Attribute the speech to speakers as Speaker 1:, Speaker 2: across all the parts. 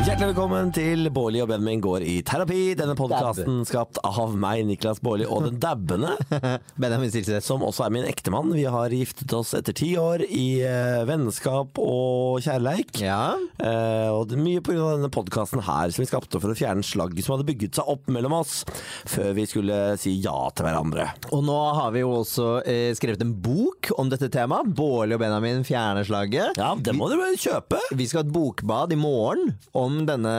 Speaker 1: Hjertelig velkommen til Bårli og Benjamin går i terapi. Denne podkasten skapt av meg, Niklas Bårli, og den dabbende,
Speaker 2: Benjamin Silseth.
Speaker 1: som også er min ektemann. Vi har giftet oss etter ti år i eh, vennskap og kjærleik.
Speaker 2: Ja.
Speaker 1: Eh, og det er mye pga. denne podkasten her som vi skapte for å fjerne slagget som hadde bygget seg opp mellom oss før vi skulle si ja til hverandre.
Speaker 2: Og nå har vi jo også eh, skrevet en bok om dette temaet. Bårli og Benjamin fjerner slaget.
Speaker 1: Ja, det må dere kjøpe!
Speaker 2: Vi skal ha et bokbad i morgen om denne,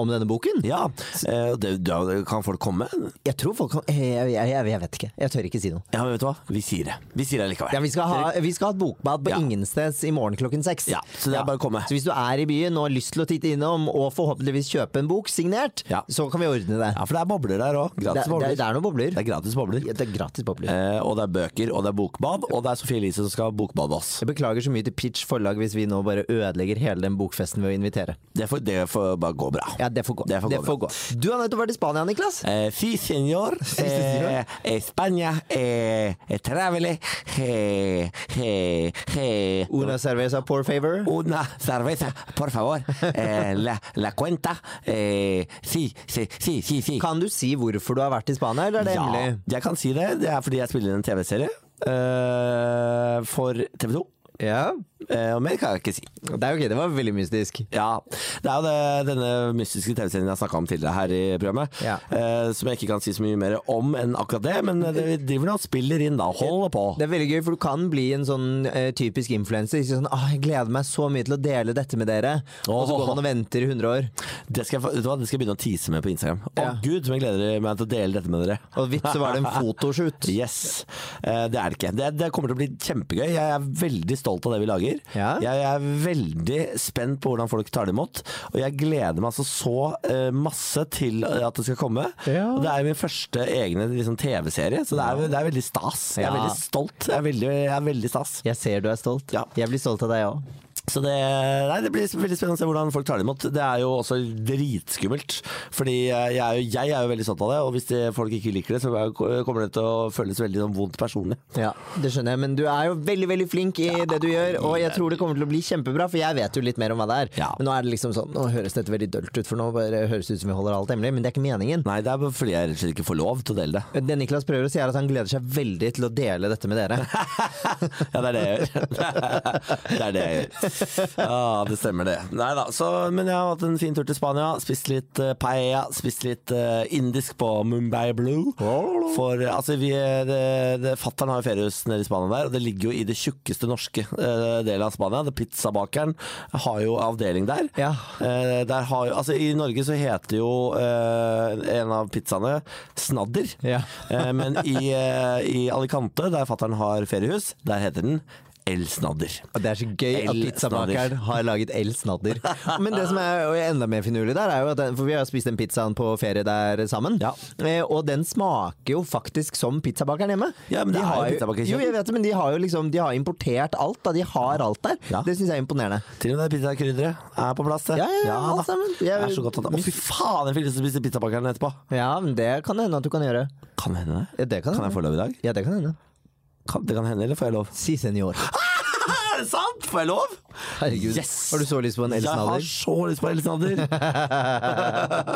Speaker 2: om denne boken.
Speaker 1: Ja, eh, det, da kan folk komme.
Speaker 2: Jeg tror folk kan eh, jeg, jeg, jeg, jeg vet ikke. Jeg tør ikke si noe.
Speaker 1: Ja, men vet du hva? Vi sier det. Vi sier det likevel.
Speaker 2: Ja, vi, skal ha, vi skal ha et bokbad på
Speaker 1: Ja.
Speaker 2: Ingensteds i morgen klokken seks.
Speaker 1: Ja, så det er bare å komme.
Speaker 2: Så hvis du er i byen og har lyst til å titte innom og forhåpentligvis kjøpe en bok signert,
Speaker 1: Ja.
Speaker 2: så kan vi ordne det.
Speaker 1: Ja, for det er bobler der òg.
Speaker 2: Det,
Speaker 1: Gratis
Speaker 2: det,
Speaker 1: bobler.
Speaker 2: det er noen bobler.
Speaker 1: Det er gratis bobler.
Speaker 2: Ja, det er gratis bobler.
Speaker 1: Eh, og det er bøker, og det er bokbad, og det er Sofie Elise som skal bokbade oss.
Speaker 2: Jeg beklager så mye til Pitch forlag hvis vi nå bare ødelegger hele den bokfesten ved å invitere.
Speaker 1: Det får, det får bare gå bra.
Speaker 2: Ja, det får gå.
Speaker 1: Det får gå bra.
Speaker 2: Du har nettopp vært i Spania, Niklas.
Speaker 1: Eh, si, senor. Eh,
Speaker 2: senor.
Speaker 1: eh, Spania eh, eh, travele. Eh, eh, eh.
Speaker 2: Una cerveza por favor.
Speaker 1: Una cerveza, por favor. Eh, la, la cuenta. Eh, si, si, si, si, si.
Speaker 2: Kan du si hvorfor du har vært i Spania, eller er det
Speaker 1: Ja,
Speaker 2: hemmelig?
Speaker 1: jeg kan si det. Det er fordi jeg spiller en TV-serie eh, for TV 2.
Speaker 2: Ja.
Speaker 1: Eh, og mer kan jeg ikke si.
Speaker 2: Det er ok, det var veldig mystisk.
Speaker 1: Ja, Det er jo det, denne mystiske TV-serien jeg snakka om tidligere her i programmet.
Speaker 2: Ja.
Speaker 1: eh, som jeg ikke kan si så mye mer om enn akkurat det, men eh, det, vi driver nå og spiller inn da. Holder på.
Speaker 2: Det er veldig gøy, for du kan bli en sånn eh, typisk influenser. Sånn, ah, 'Jeg gleder meg så mye til å dele dette med dere', og så
Speaker 1: Åh.
Speaker 2: går man og venter i 100 år.
Speaker 1: Det skal, jeg, vet du hva, det skal jeg begynne å tease med på Instagram. Å
Speaker 2: Ja.
Speaker 1: gud, som jeg gleder meg til å dele dette med dere.
Speaker 2: Og vips, så var det en fotoshoot.
Speaker 1: Yes. Eh, det er det ikke. Det, det kommer til å bli kjempegøy. Jeg er veldig stolt av det vi lager.
Speaker 2: Ja.
Speaker 1: Jeg er veldig spent på hvordan folk tar det imot. Og jeg gleder meg altså så eh, masse til at det skal komme.
Speaker 2: Ja.
Speaker 1: Og det er min første egne liksom, TV-serie, så det er, det er veldig stas. Jeg er
Speaker 2: Ja.
Speaker 1: veldig stolt. Jeg er veldig, jeg er veldig stas.
Speaker 2: Jeg ser du er stolt.
Speaker 1: Ja.
Speaker 2: Jeg blir stolt av deg òg.
Speaker 1: Så det, nei, det blir veldig spennende å se hvordan folk tar det imot. Det er jo også dritskummelt. Fordi eh, jeg er jo, jeg er jo veldig stolt av det, og hvis det, folk ikke liker det, så er- kommer det til å føles veldig sånn vondt personlig.
Speaker 2: Ja, det skjønner jeg, men du er jo veldig veldig flink i det du gjør, og jeg tror det kommer til å bli kjempebra, for jeg vet jo litt mer om hva det er.
Speaker 1: Ja.
Speaker 2: Men nå er det liksom sånn, nå høres dette veldig dølt ut, for nå bare høres det ut som vi holder alt hemmelig, men det er ikke meningen.
Speaker 1: Nei, det er bare fordi jeg rett og slett ikke får lov til å dele det.
Speaker 2: Det Niklas prøver å si, er at han gleder seg veldig til å dele dette med dere.
Speaker 1: Ja, det er det jeg gjør. Det er det jeg gjør. Ja, det stemmer det. Nei da, så Men jeg har hatt en fin tur til Spania. Spist litt eh, paella. Spist litt eh, indisk på Mumbai Blue. For eh, altså, vi eh, det, det, Fattern har jo feriehus nede i Spania der, og det ligger jo i det tjukkeste norske eh, delen av Spania. Det Pizzabakeren har jo avdeling der.
Speaker 2: Ja.
Speaker 1: Eh, der har jo, altså, I Norge så heter jo eh, en av pizzaene snadder.
Speaker 2: Ja.
Speaker 1: Eh, men i, eh, i Alicante, der fattern har feriehus, der heter den El Snadder.
Speaker 2: Og det er så gøy at
Speaker 1: El
Speaker 2: pizzabakeren har laget El Snadder. Men det som er jo enda mer finurlig der, er jo at den, for vi har jo spist den pizzaen på ferie der sammen,
Speaker 1: Ja.
Speaker 2: eh, og den smaker jo faktisk som pizzabakeren hjemme.
Speaker 1: Ja, men det
Speaker 2: De
Speaker 1: er jo
Speaker 2: har
Speaker 1: pizzabakerkjeden.
Speaker 2: Jo, jeg vet det, men de har jo liksom, de har importert alt, da. De har alt der.
Speaker 1: Ja.
Speaker 2: Det syns jeg er imponerende.
Speaker 1: Til og med det pizzakrydderet er på plass. det.
Speaker 2: Ja, ja, ja, alt
Speaker 1: da.
Speaker 2: sammen.
Speaker 1: Det
Speaker 2: Jeg-
Speaker 1: er så godt at Å, fy faen, jeg fikk lyst til å spise pizzabakeren etterpå.
Speaker 2: Ja, men det kan det hende at du kan gjøre.
Speaker 1: Kan det hende det?
Speaker 2: Ja, det kan,
Speaker 1: Kan jeg få lov i dag?
Speaker 2: Ja, det kan hende.
Speaker 1: Kan, det kan hende, eller får jeg lov?
Speaker 2: Si senior.
Speaker 1: Er det sant? Får jeg lov?
Speaker 2: Herregud.
Speaker 1: Yes!
Speaker 2: Har du så lyst på en El
Speaker 1: Jeg har
Speaker 2: Snadder?
Speaker 1: så lyst på El Snadder.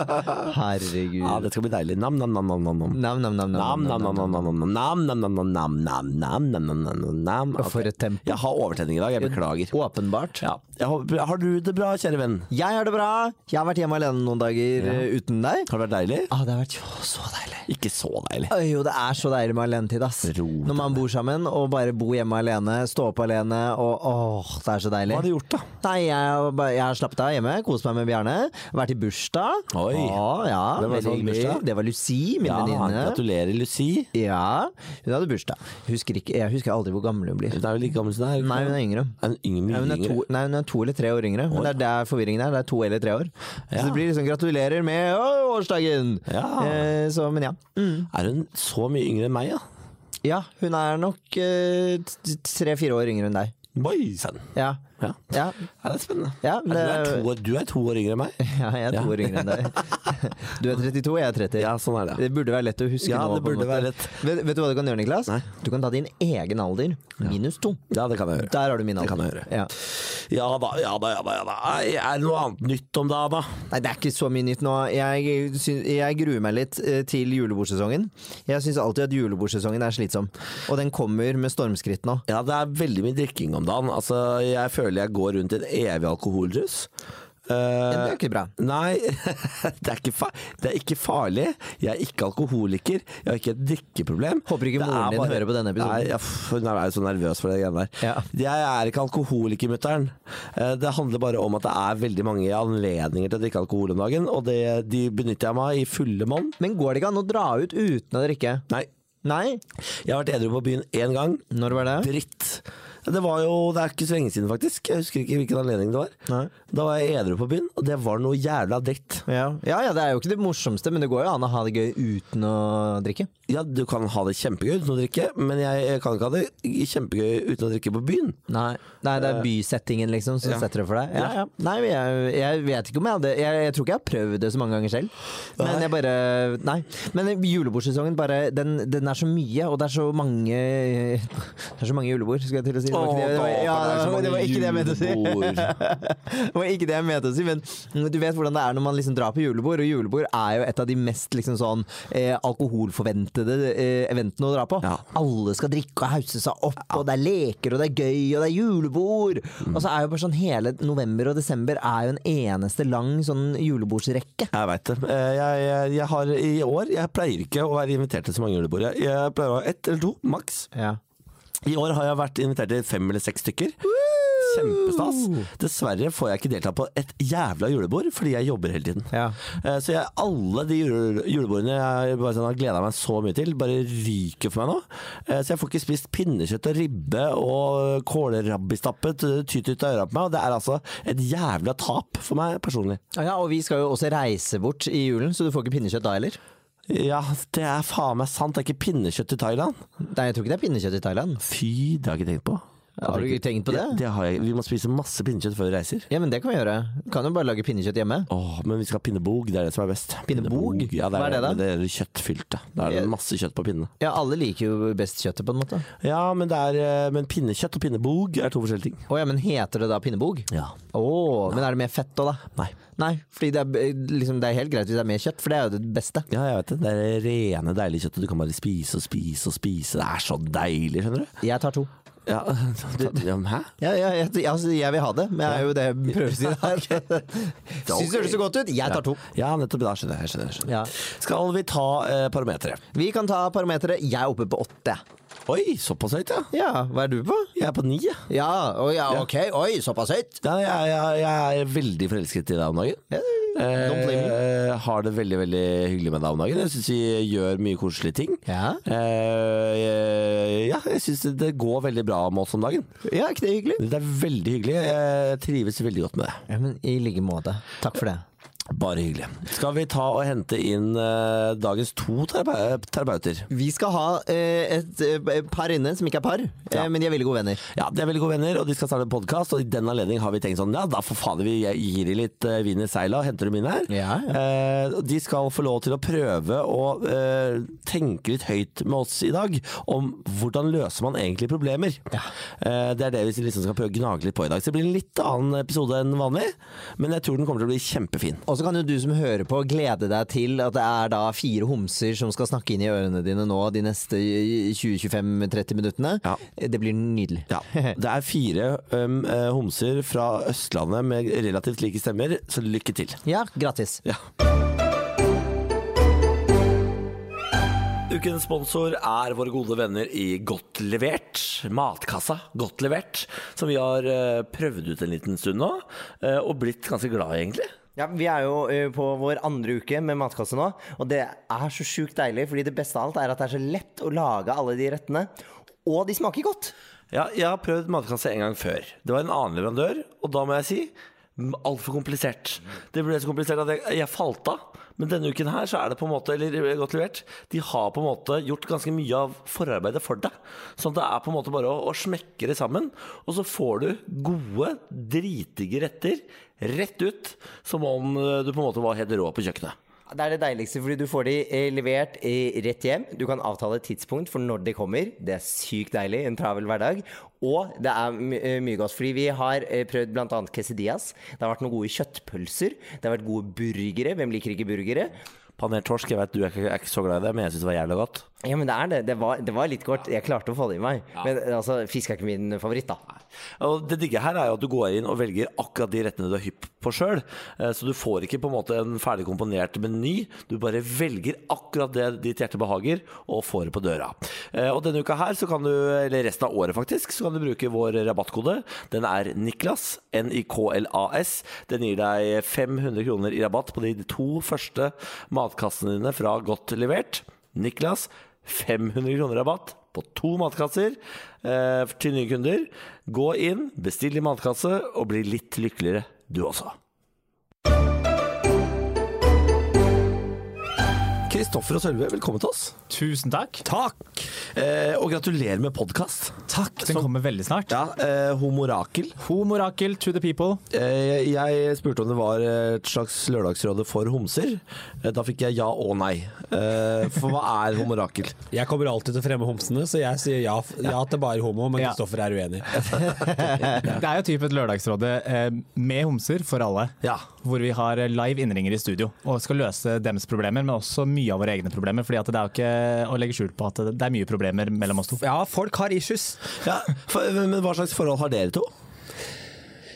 Speaker 2: Herregud.
Speaker 1: Ja, det skal bli deilig. Nam, nam, nam, nam, nam. nam.
Speaker 2: Nam, nam, nam, nam,
Speaker 1: Nam, nam, nam, nam, nam, nam, nam, nam, nam, nam, nam, nam, nam, nam, nam, nam, nam, nam.
Speaker 2: Og for
Speaker 1: Ok.
Speaker 2: et tempo.
Speaker 1: Jeg har overtenning i dag, jeg beklager.
Speaker 2: Åpenbart.
Speaker 1: Ja. Jeg håper- Har du det bra, kjære venn?
Speaker 2: Jeg har det bra. Jeg har vært hjemme alene noen dager eh, uten deg.
Speaker 1: Har det vært deilig?
Speaker 2: Ah, det har vært jo så deilig.
Speaker 1: Ikke så deilig.
Speaker 2: Øy, jo, det er så deilig med alenetid, ass.
Speaker 1: Ro deg
Speaker 2: Når man bor sammen og bare bor hjemme alene, stå opp alene og åh, det er så deilig.
Speaker 1: Hva har du gjort, da?
Speaker 2: Nei, jeg, har bare- jeg har slappet av hjemme, kost meg med Bjarne. Vært i bursdag.
Speaker 1: Oi.
Speaker 2: Åh, ja,
Speaker 1: Hvem var det som hadde
Speaker 2: veldig hyggelig.
Speaker 1: bursdag?
Speaker 2: Det var Lucy, min
Speaker 1: Ja,
Speaker 2: venninne.
Speaker 1: gratulerer, Lucy.
Speaker 2: Ja, hun hadde bursdag. Husker ikke, jeg husker aldri hvor gammel hun blir.
Speaker 1: Hun er jo like gammel som deg?
Speaker 2: Nei, hun er yngre.
Speaker 1: En yngre,
Speaker 2: Nei, hun er to,
Speaker 1: yngre.
Speaker 2: nei, hun er to eller tre år yngre. Men det er der forvirringen er. Det er to eller tre år. Så det blir liksom 'gratulerer med å, årsdagen'!
Speaker 1: Ja.
Speaker 2: Eh, så, men ja. Mm.
Speaker 1: Er hun så mye yngre enn meg, da?
Speaker 2: Ja, hun er nok eh, t- t- tre-fire år yngre enn deg.
Speaker 1: Boy, sann.
Speaker 2: Ja.
Speaker 1: Ja.
Speaker 2: Ja,
Speaker 1: Ja, det er spennende.
Speaker 2: Ja,
Speaker 1: du, er
Speaker 2: det-
Speaker 1: to, år- du er to år yngre enn meg.
Speaker 2: ja jeg er to år yngre enn deg. Du er 32, jeg er 30.
Speaker 1: Ja, sånn er det.
Speaker 2: Det burde være lett å huske
Speaker 1: Ja,
Speaker 2: nå.
Speaker 1: det
Speaker 2: på en
Speaker 1: burde
Speaker 2: måte.
Speaker 1: være lett.
Speaker 2: Vet, vet du hva du kan gjøre, Niklas?
Speaker 1: Nei.
Speaker 2: Du kan ta din egen alder minus to.
Speaker 1: Ja, det kan jeg gjøre.
Speaker 2: Der har du min
Speaker 1: Det
Speaker 2: alder.
Speaker 1: kan jeg gjøre.
Speaker 2: Ja.
Speaker 1: Ja da, ja da, ja da. Ja, da. Nei, Er det noe annet nytt om dagen, da?
Speaker 2: Nei, det er ikke så mye nytt nå. Jeg, syn- jeg gruer meg litt eh, til julebordsesongen. Jeg syns alltid at julebordsesongen er slitsom, og den kommer med stormskritt nå.
Speaker 1: Ja, det er veldig mye drikking om dagen. Altså, jeg føler jeg går rundt i en evig alkoholrus.
Speaker 2: Det
Speaker 1: Eh,
Speaker 2: er jo ikke bra.
Speaker 1: Nei, det er, ikke fa det er ikke farlig. Jeg er ikke alkoholiker. Jeg har ikke et drikkeproblem.
Speaker 2: Håper ikke
Speaker 1: Det er
Speaker 2: moren din hører på denne episoden.
Speaker 1: Nei, jeg, f- hun er jo så nervøs for det greiene der.
Speaker 2: Ja.
Speaker 1: Jeg er ikke alkoholiker, mutter'n. Eh, Det handler bare om at det er veldig mange anledninger til å drikke alkohol om dagen, og det, de benytter jeg meg av i fulle monn.
Speaker 2: Men går det ikke an å dra ut uten å drikke?
Speaker 1: Nei.
Speaker 2: Nei?
Speaker 1: Jeg har vært edru på byen én gang.
Speaker 2: Når var det?
Speaker 1: Dritt. Det var jo Det er ikke så lenge siden, faktisk. Jeg husker ikke hvilken anledning det var.
Speaker 2: Nei.
Speaker 1: Da var jeg edru på byen, og det var noe jævla dritt.
Speaker 2: Ja. ja ja, det er jo ikke det morsomste, men det går jo an å ha det gøy uten å drikke.
Speaker 1: Ja, du kan ha det kjempegøy uten å drikke, men jeg kan ikke ha det kjempegøy uten å drikke på byen.
Speaker 2: Nei, Nei det er bysettingen liksom som
Speaker 1: ja.
Speaker 2: setter det for deg. Ja, ja. Nei, men jeg, jeg vet ikke om jeg hadde jeg, jeg tror ikke jeg har prøvd det så mange ganger selv.
Speaker 1: Nei.
Speaker 2: Men jeg bare Nei. Men julebordsesongen bare den, den er så mye, og det er så mange Det er så mange julebord, skulle jeg til å si. Det var ikke det, det, var, ja, det, var, det var ikke det jeg mente å si. Det var ikke det jeg mente å si, men du vet hvordan det er når man liksom drar på julebord, og julebord er jo et av de mest liksom sånn eh, alkoholforventede eh, eventene å dra på.
Speaker 1: Ja.
Speaker 2: Alle skal drikke og hause seg opp, og det er leker, og det er gøy, og det er julebord! Og så er jo bare sånn hele november og desember er jo en eneste lang sånn julebordsrekke.
Speaker 1: Jeg veit det. Eh, Jeg, jeg, jeg har i år Jeg pleier ikke å være invitert til så mange julebord. Jeg, jeg pleier å ha ett eller to, maks.
Speaker 2: Ja.
Speaker 1: I år har jeg vært invitert til fem eller seks stykker. Kjempestas. Dessverre får jeg ikke delta på et jævla julebord, fordi jeg jobber hele tiden.
Speaker 2: Ja.
Speaker 1: Eh, Så jeg, alle de jule, julebordene jeg bare sånn, har gleda meg så mye til, bare ryker for meg nå. Eh, Så jeg får ikke spist pinnekjøtt og ribbe og kålrabbistappet tyter ut av øra på meg. Og det er altså et jævla tap for meg personlig.
Speaker 2: ja, og vi skal jo også reise bort i julen, så du får ikke pinnekjøtt da heller.
Speaker 1: Ja, det er faen meg sant. Det er ikke pinnekjøtt i Thailand.
Speaker 2: Nei, jeg tror ikke det er pinnekjøtt i Thailand.
Speaker 1: Fy, det har jeg ikke tenkt på.
Speaker 2: Har du ikke tenkt på
Speaker 1: Ja,
Speaker 2: det?
Speaker 1: det har jeg. Vi må spise masse pinnekjøtt før vi reiser.
Speaker 2: Ja, men det kan vi gjøre. Kan jo bare lage pinnekjøtt hjemme.
Speaker 1: Åh, men vi skal ha pinnebog, det er det som er best.
Speaker 2: Pinnebog?
Speaker 1: Ja, det er,
Speaker 2: Hva er det da?
Speaker 1: Det er kjøttfylte. Da er det masse kjøtt på pinne.
Speaker 2: Ja, alle liker jo best kjøttet, på en måte.
Speaker 1: Ja, men, det er, eh, men pinnekjøtt og pinnebog er to forskjellige ting.
Speaker 2: Å ja, men heter det da pinnebog?
Speaker 1: Ja.
Speaker 2: Å, men er det mer fett da, da?
Speaker 1: Nei.
Speaker 2: Nei, fordi det er, eh, liksom, det er helt greit hvis det er mer kjøtt, for det er jo det beste.
Speaker 1: Ja, jeg vet det. Det er rene, deilige kjøttet. Du kan bare spise og spise og spise. Det er så deilig, skjønner du.
Speaker 2: Jeg tar to.
Speaker 1: Ja, ja men hæ?
Speaker 2: Ja, ja, jeg, altså, jeg vil ha det, men jeg er jo det jeg prøver å si der. Syns det høres så godt ut? Jeg tar to.
Speaker 1: Ja, nettopp. Da skjønner jeg. skjønner, jeg, skjønner.
Speaker 2: Ja.
Speaker 1: Skal vi ta eh, parameteret?
Speaker 2: Vi kan ta parameteret. Jeg er oppe på åtte.
Speaker 1: Oi, såpass høyt, ja.
Speaker 2: Ja, hva er du på?
Speaker 1: Jeg er på ni. jeg.
Speaker 2: Ja, å, ja ok, oi, såpass høyt.
Speaker 1: Ja, jeg, jeg, jeg er veldig forelsket i deg om dagen.
Speaker 2: don't blame
Speaker 1: Eh, har det veldig veldig hyggelig med deg om dagen. Jeg syns vi gjør mye koselige ting.
Speaker 2: Ja.
Speaker 1: Eh, ja, jeg syns det går veldig bra med oss om dagen.
Speaker 2: Ja, ikke det hyggelig?
Speaker 1: Det er veldig hyggelig. Jeg trives veldig godt med det.
Speaker 2: Ja, men I like måte. Takk for det.
Speaker 1: Bare hyggelig. Skal vi ta og hente inn eh, dagens to terapa- terapeuter?
Speaker 2: Vi skal ha eh, et eh, par inne som ikke er par, eh, men de er veldig gode venner.
Speaker 1: Ja, De er veldig gode venner, og de skal starte en podkast. Og i den anledning har vi tenkt sånn, ja da for fader, vi gir de litt eh, vin i seila og henter dem inn her.
Speaker 2: Ja, ja.
Speaker 1: Eh, og de skal få lov til å prøve å eh, tenke litt høyt med oss i dag om hvordan løser man egentlig problemer. Eh, det er det vi liksom skal prøve å gnage litt på i dag. Så det blir en litt annen episode enn vanlig, men jeg tror den kommer til å bli kjempefin.
Speaker 2: Og så kan jo du som hører på glede deg til at det er da fire homser som skal snakke inn i ørene dine nå de neste 20-25-30 minuttene.
Speaker 1: Ja.
Speaker 2: Det blir nydelig.
Speaker 1: Ja, Det er fire um, eh, homser fra Østlandet med relativt like stemmer, så lykke til.
Speaker 2: Ja, gratis.
Speaker 1: Ja. Ukens sponsor er våre gode venner i Godt levert. Matkassa Godt levert, som vi har eh, prøvd ut en liten stund nå, eh, og blitt ganske glad i, egentlig.
Speaker 3: Ja, Vi er jo eh, på vår andre uke med matkasse nå, og det er så sjukt deilig. fordi det beste av alt er at det er så lett å lage alle de rettene. Og de smaker godt.
Speaker 1: Ja, jeg har prøvd matkasse en gang før. Det var en annen leverandør, og da må jeg si altfor komplisert. Det ble så komplisert at jeg, jeg falt av. Men denne uken her så er det på en måte Eller eh, godt levert De har på en måte gjort ganske mye av forarbeidet for deg Sånn at det er på en måte bare å, å smekke det sammen Og så får du gode, dritige retter Rett ut Som om eh, du på en måte var helt rå på kjøkkenet
Speaker 2: Det er det deiligste, fordi du får de eh, levert eh, rett hjem. Du kan avtale et tidspunkt for når de kommer. Det er sykt deilig i en travel hverdag. Og det er my eh, mye godt, fordi vi har eh, prøvd bl.a. quesadillas. Det har vært noen gode kjøttpølser. Det har vært gode burgere. Hvem liker ikke burgere?
Speaker 1: Panert torsk, jeg vet du er ikke, er ikke så glad i det Men jeg synes det var jævlig godt
Speaker 2: Ja, men det er det. Det var, det var litt kort. Jeg klarte å få det i meg. Men altså, fisk er ikke min favoritt, da.
Speaker 1: Og det digge her er jo at du går inn og velger akkurat de rettene du er hypp på sjøl. Så du får ikke på en måte en ferdig komponert meny. Du bare velger akkurat det ditt hjerte behager, og får det på døra. Eh, Og denne uka her, så kan du, eller resten av året faktisk, så kan du bruke vår rabattkode. Den er Niklas, N-I-K-L-A-S. Den gir deg 500 kroner i rabatt på de to første matkassene dine fra Godt levert. Niklas, 500 kroner rabatt på to matkasser eh, til nye kunder. Gå inn, bestill din matkasse og bli litt lykkeligere du også. Kristoffer og Sølve, velkommen til oss.
Speaker 4: Tusen takk.
Speaker 1: Takk! Eh, og gratulerer med podkast.
Speaker 4: Takk, Den kommer veldig snart.
Speaker 1: Ja, eh, Homorakel.
Speaker 4: Homorakel to the people.
Speaker 1: Eh, jeg spurte om det var et slags lørdagsråde for homser. Eh, da fikk jeg ja og nei. Eh, for hva er homorakel?
Speaker 5: Jeg kommer alltid til å fremme homsene, så jeg sier ja, ja til bare homo, men
Speaker 4: Ja.
Speaker 5: Kristoffer er uenig.
Speaker 4: Det er jo typ et lørdagsråde eh, med homser for alle.
Speaker 1: Ja.
Speaker 4: Hvor vi har eh, live innringer i studio og skal løse dems problemer, men også mye av våre egne problemer. Fordi at det er jo ikke å legge skjul på at det er mye problemer mellom oss to.
Speaker 5: Ja, folk har issues.
Speaker 1: ja for, men hva slags forhold har dere to?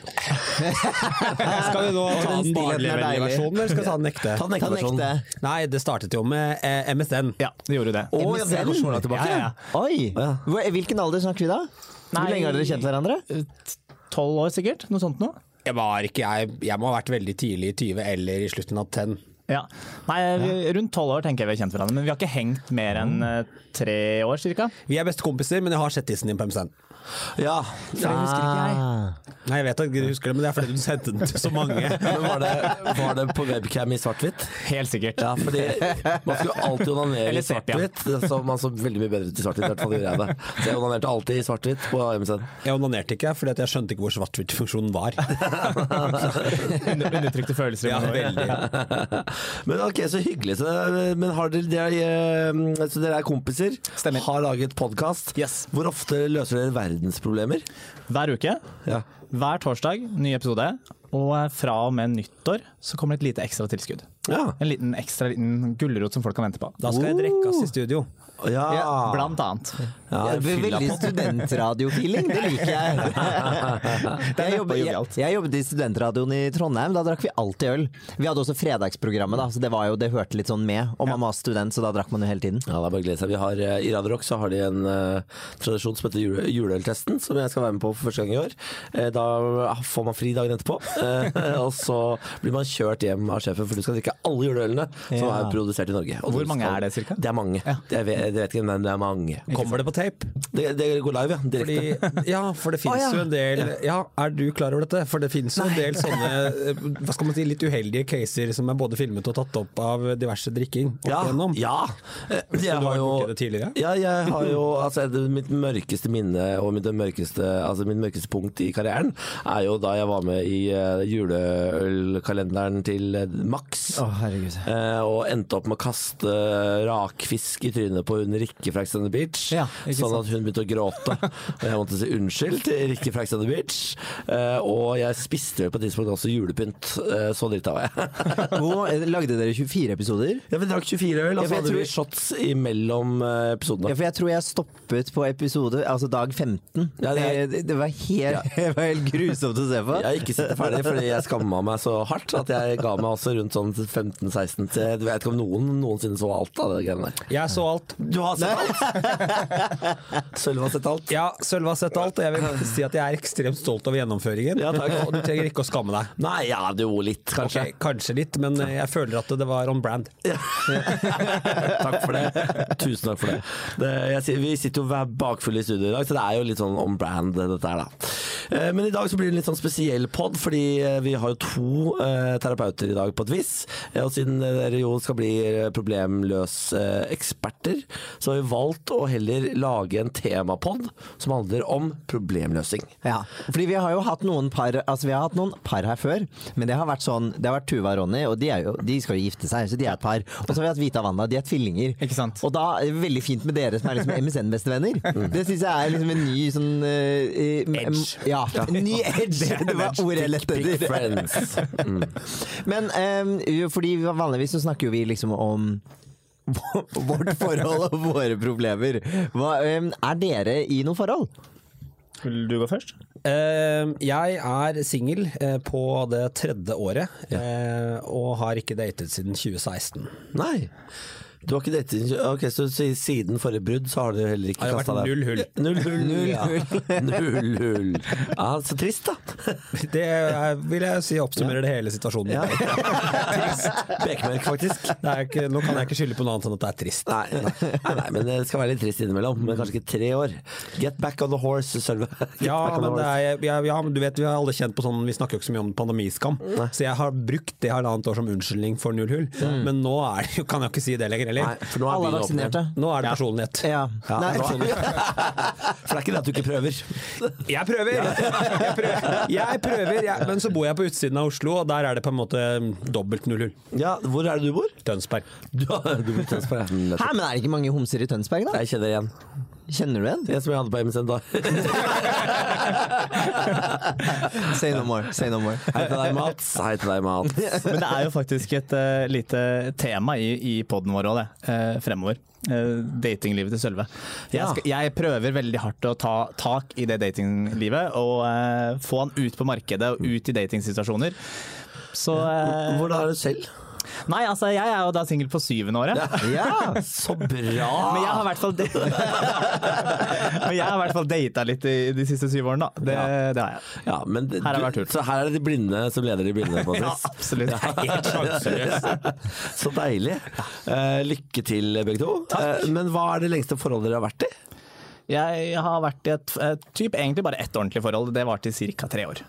Speaker 5: Skal vi nå ta den
Speaker 6: den stillheten er
Speaker 5: barnevennlige
Speaker 6: deilig.
Speaker 5: versjonen, eller skal vi ta den ekte?
Speaker 1: Ta den
Speaker 6: Ta
Speaker 1: ekte
Speaker 6: den
Speaker 1: versjonen.
Speaker 6: ekte.
Speaker 5: Nei, det startet jo med eh, MSN.
Speaker 4: Ja, det gjorde jo det.
Speaker 1: Å, ja, det går så langt tilbake.
Speaker 4: Ja, ja,
Speaker 6: Oi!
Speaker 1: Ja.
Speaker 6: Hvor, hvilken alder snakker vi da? Hvor
Speaker 4: Nei.
Speaker 6: lenge har dere kjent hverandre?
Speaker 4: ja. Tolv år sikkert? Noe sånt noe?
Speaker 5: Jeg, var ikke, jeg, jeg må ha vært veldig tidlig i 20 eller i slutten av 10.
Speaker 4: Ja. Nei, vi, rundt tolv år tenker jeg vi har kjent hverandre, men vi har ikke hengt mer enn eh, tre år cirka.
Speaker 5: Vi er bestekompiser, men jeg har sett tissen din på MSN.
Speaker 1: Ja.
Speaker 6: Ah.
Speaker 5: Nei, jeg vet at du husker det, men det er fordi du sendte den til så mange.
Speaker 1: Men var det, var det på webcam i svart-hvitt?
Speaker 4: Helt sikkert.
Speaker 1: Ja, fordi man skulle alltid onanere
Speaker 4: Eller
Speaker 1: i
Speaker 4: sepia.
Speaker 1: svart-hvitt. Så man så veldig mye bedre ut i svart-hvitt, i hvert fall gjorde jeg det. Så jeg onanerte alltid i svart-hvitt på MSN.
Speaker 5: Jeg onanerte ikke, fordi at jeg skjønte ikke hvor svart-hvitt-funksjonen var.
Speaker 4: Under- Undertrykte følelser. i
Speaker 5: Ja,
Speaker 4: mange år.
Speaker 5: veldig.
Speaker 1: Men ok, så hyggelig. Så, men har dere, dere, eh, så dere er kompiser,
Speaker 4: Stemmer.
Speaker 1: har laget podkast.
Speaker 4: Yes.
Speaker 1: Hvor ofte løser dere verdensproblemer?
Speaker 4: Hver uke
Speaker 1: Ja.
Speaker 4: Hver torsdag, ny episode. Og fra og med nyttår så kommer det et lite ekstra tilskudd.
Speaker 1: Ja.
Speaker 4: En liten ekstra liten gulrot som folk kan vente på.
Speaker 5: Da skal jeg drikkes i studio.
Speaker 1: ja.
Speaker 4: Blant annet.
Speaker 1: ja
Speaker 6: Ja, det er
Speaker 1: fylla
Speaker 6: veldig
Speaker 1: på.
Speaker 6: studentradio-feeling, det liker jeg. Jeg, jobbet- jeg, jeg jobbet i studentradioen i Trondheim, da drakk vi alltid øl. Vi hadde også fredagsprogrammet, da, så det, var jo, det hørte litt sånn med. Og man var student, så da drakk man jo hele tiden.
Speaker 1: Ja, det er bare å glede seg. Vi har, eh, I Radio Rock så har de en eh, tradisjon som heter jule, juleøltesten, som jeg skal være med på for første gang i år. Eh, da får man fri dagen etterpå, eh, og så blir man kjørt hjem av sjefen, for du skal drikke alle juleølene som
Speaker 4: Ja.
Speaker 1: er produsert i Norge. Og
Speaker 4: Hvor
Speaker 1: du
Speaker 4: mange er det, cirka?
Speaker 1: Det er mange. Jeg, vet, jeg vet ikke, men det er mange.
Speaker 5: Kommer det på tape?
Speaker 1: Det, det går live, ja. Direkte.
Speaker 5: Fordi, ja, for det finnes
Speaker 1: Å, ja.
Speaker 5: jo en del Ja, er du klar over dette? For det finnes jo en del sånne eh, hva skal man si, litt uheldige caser som er både filmet og tatt opp av diverse drikking. opp
Speaker 1: Ja,
Speaker 5: igjennom.
Speaker 1: ja. Eh, Jeg
Speaker 5: du har
Speaker 1: har jo,
Speaker 5: gjort det tidligere?
Speaker 1: Ja, jeg har jo altså, det, Mitt mørkeste minne og mitt mørkeste, altså, mitt mørkeste punkt i karrieren er jo da jeg var med i eh, juleølkalenderen til eh, Max.
Speaker 6: herregud.
Speaker 1: Eh, og endte opp med å kaste eh, rakfisk i trynet på hun Rikke fra Ex on the Beach.
Speaker 4: Ja, ikke
Speaker 1: sånn at hun begynte å gråte. Og jeg måtte si unnskyld til Rikke fra Ex on the Beach. Eh, og jeg spiste vel på et tidspunkt også julepynt. Eh, så dritt av jeg.
Speaker 6: Hvor,
Speaker 1: eh,
Speaker 6: lagde dere 24 episoder?
Speaker 1: Ja, vi drakk 24 øl, og så
Speaker 6: Ja, for jeg
Speaker 1: hadde
Speaker 6: tror-
Speaker 1: vi shots imellom eh,
Speaker 6: Ja,
Speaker 1: episodene.
Speaker 6: for jeg tror jeg stoppet på episode, altså dag 15.
Speaker 1: Ja, det er-
Speaker 6: Eh, det, det, var helt, det var helt grusomt å se på.
Speaker 1: Jeg har ikke sett det ferdig, fordi jeg skamma meg så hardt at jeg ga meg også rundt sånn 15-16 til Jeg vet ikke om noen noensinne så alt av det greiene der.
Speaker 5: Jeg så alt.
Speaker 1: Du har sett alt! Sølve har sett alt.
Speaker 5: Ja, Sølve har sett alt, og jeg vil si at jeg er ekstremt stolt over gjennomføringen.
Speaker 1: Ja, takk.
Speaker 5: Og du trenger ikke å skamme deg.
Speaker 1: Nei, ja, jo litt, kanskje.
Speaker 5: Ok, kanskje litt, men eh, jeg føler at det var on brand.
Speaker 1: Takk for det. Tusen takk for det. det jeg, sier- vi sitter jo hver bakfulle i studio i dag, så det er jo litt sånn on brand, dette her, da. Eh, Men i dag så blir det en litt sånn spesiell pod, fordi eh, vi har jo to eh, terapeuter i dag på et vis. Eh, Og siden eh, dere jo skal bli eh, problemløseksperter, så har vi valgt å heller lage en temapod som handler om problemløsing.
Speaker 6: Ja, fordi vi har jo hatt noen par Altså vi har hatt noen par her før, men det har vært sånn Det har vært Tuva og Ronny, og de, er jo, de skal jo gifte seg, så de er et par. Og så har vi hatt Vita og Wanda, de er tvillinger.
Speaker 4: Ikke sant?
Speaker 6: Og da er det veldig fint med dere som er liksom MSN-bestevenner. Det syns jeg er liksom en ny sånn Edge. Ja, en ny edge. Det, var ordet jeg lette
Speaker 1: Big
Speaker 6: etter.
Speaker 1: friends.
Speaker 6: Men eh, jo, fordi vi- vanligvis så snakker jo vi liksom om Vårt forhold og våre problemer. Hva, eh, er dere i noe forhold?
Speaker 4: Vil du gå først?
Speaker 5: Eh, jeg er singel eh, på det tredje året, eh, og har ikke datet siden 2016.
Speaker 1: Nei. Du har ikke datet Ok, så si- siden forrige brudd så har du heller ikke
Speaker 5: Har det vært
Speaker 1: kastet deg
Speaker 5: null hull?
Speaker 1: Null hull. ja. null hull. Ja, så trist, da.
Speaker 5: Det er, vil jeg si oppsummerer det hele situasjonen.
Speaker 1: Ja. trist. Bekmørk, faktisk.
Speaker 5: Det er ikke, nå kan jeg ikke skylde på noe annet enn at det er trist.
Speaker 1: Nei, nei, nei, nei, men det skal være litt trist innimellom. Men kanskje ikke tre år. Get back on the horse, Sølve. Get
Speaker 5: Ja,
Speaker 1: back on the
Speaker 5: men, det
Speaker 1: horse.
Speaker 5: er, ja, ja, men du vet, vi har alle kjent på sånn Vi snakker jo ikke så mye om pandemiskam. Så jeg har brukt det halvannet år som unnskyldning for null hull. Men nå er det jo, kan jeg ikke si det lenger heller.
Speaker 1: Nei, for nå er
Speaker 6: Alle er
Speaker 1: bilen åpen igjen.
Speaker 6: vaksinerte.
Speaker 5: Nå er det personlighet.
Speaker 6: Ja.
Speaker 1: Ja,
Speaker 6: Nei.
Speaker 1: nå er- For det er ikke det at du ikke prøver.
Speaker 5: Jeg prøver! Jeg prøver, jeg prøver jeg, men så bor jeg på utsiden av Oslo, og der er det på en måte dobbelt null hull.
Speaker 1: Ja, Hvor er det du bor?
Speaker 5: Tønsberg.
Speaker 1: Du, du bor i Tønsberg. ja.
Speaker 6: Hæ, men er det ikke mange homser i Tønsberg, da?
Speaker 1: Jeg kjenner igjen.
Speaker 6: Kjenner du en?
Speaker 1: Det som jeg hadde på MSN da.
Speaker 6: Say no more. Say no more.
Speaker 1: Hei til deg, Mats. Hei til deg, Mats.
Speaker 4: Men det er jo faktisk et eh, lite tema i, i poden vår òg, det. eh, fremover. Eh, datinglivet til Sølve. Jeg,
Speaker 1: Ja.
Speaker 4: skal, jeg prøver veldig hardt å ta tak i det datinglivet og eh, få han ut på markedet og ut i datingsituasjoner. Så eh,
Speaker 1: Hvordan er det selv?
Speaker 4: Nei, altså, jeg er jo da singel på syvende året.
Speaker 1: Ja, så bra!
Speaker 4: Men jeg har i hvert
Speaker 6: Ah.
Speaker 4: fall da- Men jeg har i hvert fall data litt i de siste syv årene, da. Det,
Speaker 1: Ja.
Speaker 4: det har jeg.
Speaker 1: Ja, men det-
Speaker 4: Her har
Speaker 1: du-
Speaker 4: vært tull.
Speaker 1: Så her er det de blinde som leder de blinde, på
Speaker 4: Ja,
Speaker 1: en vis.
Speaker 4: absolutt. Helt sjanseløs.
Speaker 1: Så deilig. Eh, lykke til, begge to. Eh, men hva er det lengste forholdet dere har vært i?
Speaker 4: Jeg har vært i et, et typ, egentlig bare ett ordentlig forhold. Det var til ca. tre år.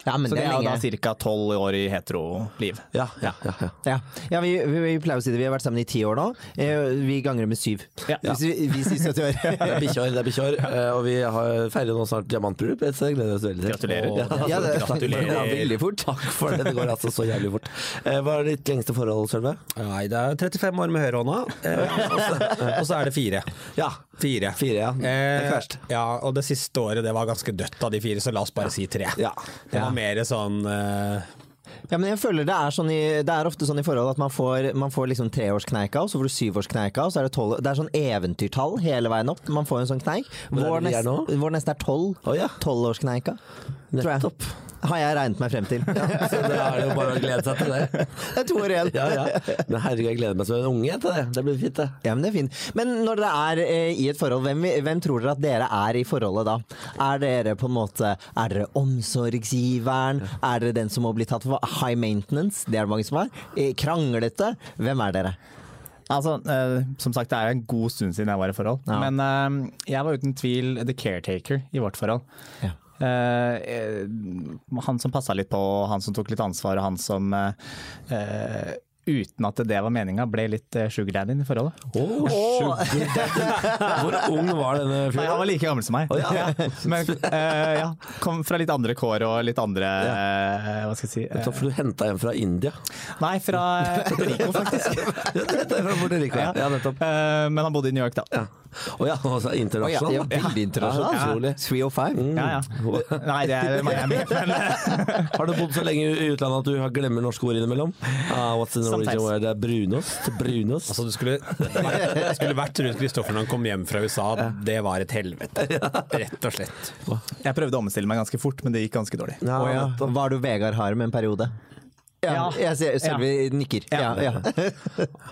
Speaker 6: Ja, men
Speaker 4: Så
Speaker 6: det er
Speaker 4: jo
Speaker 6: lenge.
Speaker 4: da ca. tolv år i heteroliv.
Speaker 1: Ja, ja, ja, ja.
Speaker 6: Ja, ja vi, vi, vi pleier å si det. Vi har vært sammen i ti år nå. Eh, Vi ganger det med syv.
Speaker 4: Ja.
Speaker 6: Hvis vi, vi sier 70 år.
Speaker 1: Det er bikkjeår, det er bikkjeår. eh, Og vi har feirer nå snart diamantbryllup, så det gleder vi oss veldig til.
Speaker 4: Gratulerer.
Speaker 1: Ja,
Speaker 6: Ja, det-
Speaker 1: gratulerer. Ja, veldig fort. Takk for det. Det går altså så jævlig fort. Eh, hva er ditt lengste forhold, Sølve?
Speaker 5: Nei, det er 35 år med høyrehånda, eh, og så- og så er det fire.
Speaker 1: Ja.
Speaker 5: Fire.
Speaker 1: Fire, ja. Det er ikke
Speaker 5: Eh,
Speaker 1: verst.
Speaker 5: ja, og det siste året det var ganske dødt av de fire, så la oss bare si tre.
Speaker 1: Ja.
Speaker 5: Det var mer sånn eh,
Speaker 6: Ja, men jeg føler det er, sånn i, det er ofte sånn i forhold at man får, man får liksom treårskneika, og så får du syvårskneika, og så er det tolv Det er sånn eventyrtall hele veien opp. Man får en sånn kneik.
Speaker 1: Hvor er
Speaker 6: Vår,
Speaker 1: det vi er nå?
Speaker 6: nest, vår neste er tolv.
Speaker 1: Å, ja.
Speaker 6: Tolvårskneika. tror jeg.
Speaker 1: Nettopp.
Speaker 6: Har jeg regnet meg frem til.
Speaker 1: Så da er det jo bare å glede seg til det.
Speaker 6: Det er to år igjen.
Speaker 1: Ja, ja. Men herregud, jeg gleder meg som en unge til det. Det blir fint, det.
Speaker 6: Ja, men det er fint. Men når dere er eh, i et forhold, hvem, hvem tror dere at dere er i forholdet da? Er dere på en måte Er dere omsorgsgiveren? Er dere den som må bli tatt for high maintenance? Det er det mange som er. Eh, Kranglete? Hvem er dere?
Speaker 4: Altså, eh, som sagt, det er en god stund siden jeg var i forhold.
Speaker 6: Ja.
Speaker 4: Men eh, jeg var uten tvil the caretaker i vårt forhold.
Speaker 6: Ja.
Speaker 4: Eh, eh, han som passa litt på, han som tok litt ansvar, og han som eh, eh, Uten at det var meninga, ble litt eh, sugar daddy i forholdet.
Speaker 1: Hvor ung var denne
Speaker 4: Nei, han var like gammel som meg.
Speaker 1: ja.
Speaker 4: Men eh, ja, kom fra litt andre kår og litt andre eh, Hva skal jeg si eh,
Speaker 1: Så for du henta en fra India?
Speaker 4: Nei, fra Puerto Rico, faktisk.
Speaker 1: Ja, det er fra Puerto Rico. Ja, ja nettopp.
Speaker 4: Eh, men han bodde i New York, da.
Speaker 1: Ja. Å ja, altså
Speaker 6: Å ja,
Speaker 1: internasjonal.
Speaker 6: ja, veldig internasjonal.
Speaker 1: Ja, Mm. utrolig.
Speaker 6: 305.
Speaker 4: Ja, ja. Nei, det er Miami. Men,
Speaker 1: Har du bodd så lenge i utlandet at du har- glemmer norske ord innimellom? Ah, what's in the
Speaker 4: Sometimes.
Speaker 1: original word? Det er brunost. Brunost.
Speaker 5: Altså, du skulle, du skulle vært rundt Kristoffer når han kom hjem fra USA. Det var et helvete. Rett og slett.
Speaker 4: jeg prøvde å omstille meg ganske fort, men det gikk ganske dårlig.
Speaker 1: Ja,
Speaker 6: Å ja.
Speaker 1: nettopp.
Speaker 6: Var du Vegard Harm en periode?
Speaker 4: Ja.
Speaker 6: Ja, jeg ser Sølvi nikker. Ja, ja.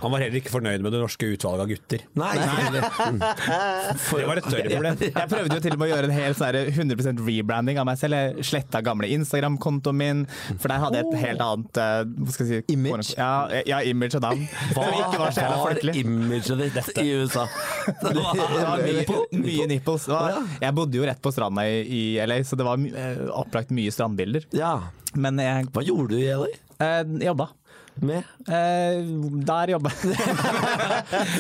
Speaker 5: Han var heller ikke fornøyd med det norske utvalget av gutter.
Speaker 1: Nei,
Speaker 5: Det var et større problem.
Speaker 4: Jeg prøvde jo til og med å gjøre en hel sånn her 100 rebranding av meg selv. Jeg sletta gamle Instagram-kontoen min, for der hadde jeg et helt annet eh, hva skal jeg si,
Speaker 6: Image?
Speaker 4: Ja, eh, ja, image og navn.
Speaker 1: Hva
Speaker 4: Som ikke var så jævla
Speaker 1: var
Speaker 4: folkelig.
Speaker 1: imaget ditt i USA? Det
Speaker 4: Det
Speaker 1: var
Speaker 4: var mye, mye nipples.
Speaker 1: Å,
Speaker 4: Det var,
Speaker 1: ja.
Speaker 4: jeg bodde jo rett på stranda i, i LA, så det var my- eh, opplagt mye strandbilder.
Speaker 1: Ja.
Speaker 4: Men jeg
Speaker 1: Hva gjorde du i LA?
Speaker 4: eh, jobba.
Speaker 1: Med?
Speaker 4: Eh, der jobba Mye- mye rart.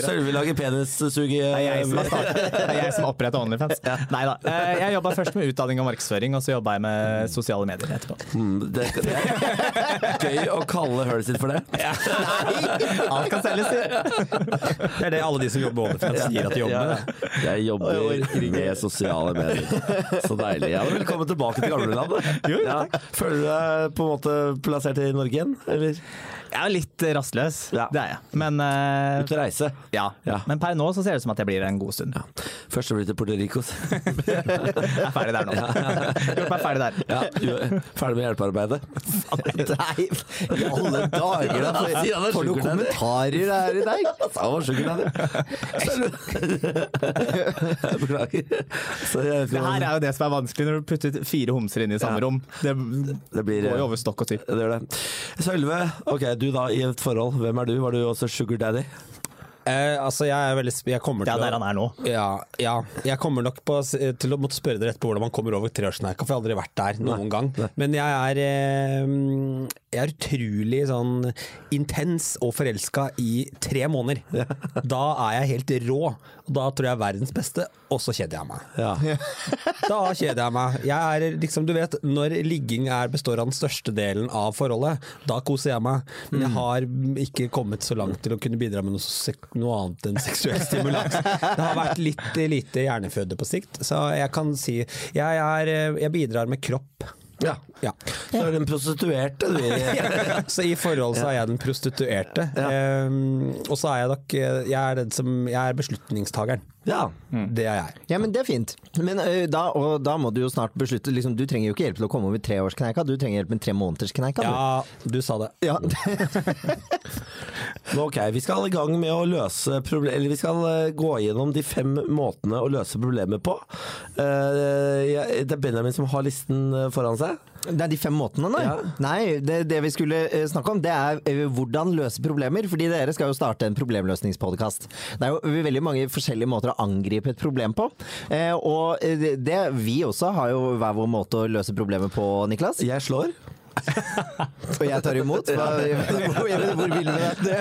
Speaker 1: Sølvi lager eh, penissuge...
Speaker 4: Det er jeg som har startet- det er jeg som har opprettet OnlyFans. Nei da. Eh, Jeg jobba først med utdanning og markedsføring, og så jobba jeg med sosiale medier etterpå.
Speaker 1: Mm, det, det er gøy å kalle hølet sitt for det.
Speaker 4: Alt kan selges, sier
Speaker 5: Det er det alle de som jobber med OnlyFans sier at de jobber med. det.
Speaker 1: Jeg jobber med sosiale medier. Så deilig. Ja, velkommen tilbake til gamlelandet. Ja. Føler du deg på en måte plassert i Norge igjen, eller?
Speaker 4: Jeg er litt rastløs,
Speaker 1: Ja.
Speaker 4: det er jeg. Men, eh,
Speaker 1: Ute og reise.
Speaker 4: ja.
Speaker 1: Ja.
Speaker 4: Men per nå så ser det ut som at jeg blir her en god stund.
Speaker 1: Først så blir det til Puerto Rico. så-
Speaker 4: Jeg er ferdig der nå. Gjort meg ferdig der.
Speaker 1: Ja, jo, ferdig med hjelpearbeidet.
Speaker 6: Nei, i alle dager! Da.
Speaker 1: Ja, sier han er
Speaker 6: For noen
Speaker 1: sugardaddy.
Speaker 6: kommentarer det er i dag!
Speaker 1: Altså, han var sugardaddy. Beklager. Så jeg,
Speaker 4: Det her er jo det som er vanskelig når du putter fire homser inn i samme
Speaker 1: Ja.
Speaker 4: rom. Det,
Speaker 1: Det blir- eh,
Speaker 4: går jo over stokk og typ.
Speaker 1: det gjør det. Sølve, ok, du da i et forhold. Hvem er du? Var du også sugar daddy?
Speaker 5: Eh, altså, jeg er veldig sp- jeg kommer
Speaker 4: Det er
Speaker 5: til
Speaker 4: der han er nå.
Speaker 5: Ja, ja. Jeg kommer nok på, til å måtte spørre dere etterpå hvordan man kommer over treårsmerka, for jeg har aldri vært der noen gang. Men jeg er, eh, jeg er utrolig sånn intens og forelska i tre måneder. Da er jeg helt rå. Og da tror jeg jeg er verdens beste, og så kjeder jeg meg.
Speaker 1: Ja.
Speaker 5: Da kjeder jeg meg. Jeg er liksom, du vet, Når ligging er, består av den største delen av forholdet, da koser jeg meg. Men jeg har ikke kommet så langt til å kunne bidra med noe, sek- noe annet enn seksuell stimulans. Det har vært litt eh, lite hjerneføde på sikt, så jeg kan si Jeg, er, eh, jeg bidrar med kropp.
Speaker 1: ja.
Speaker 5: Ja.
Speaker 1: Så er du en prostituerte, du.
Speaker 5: Så i forhold så er jeg den prostituerte. Ehm, og så er jeg nok eh, Jeg er, den som, jeg er beslutningstageren.
Speaker 1: Ja.
Speaker 5: Det er jeg.
Speaker 6: Ja, men det er fint. Men ø, da, og da må du jo snart beslutte liksom, Du trenger jo ikke hjelp til å komme over treårskneika, du trenger hjelp med tre månederskneika. du.
Speaker 5: Ja, du sa det.
Speaker 6: Ja.
Speaker 1: Men Ok, vi skal i gang med å løse proble- Eller vi skal eh, gå gjennom de fem måtene å løse problemet på. Eh, jeg- Det er Benjamin som har listen eh, foran seg.
Speaker 6: Det er de fem måtene, nei?
Speaker 1: Ja.
Speaker 6: Nei, det, det vi skulle eh, snakke om, det er eh, hvordan løse problemer. Fordi dere skal jo starte en problemløsningspodkast. Det er jo veldig mange forskjellige måter å angripe et problem på. Eh, og eh, det, det vi også har jo hver vår måte å løse problemet på, Niklas.
Speaker 1: Jeg slår.
Speaker 6: Og jeg tar imot. Hva, hvor, jeg vet, hvor vil du det?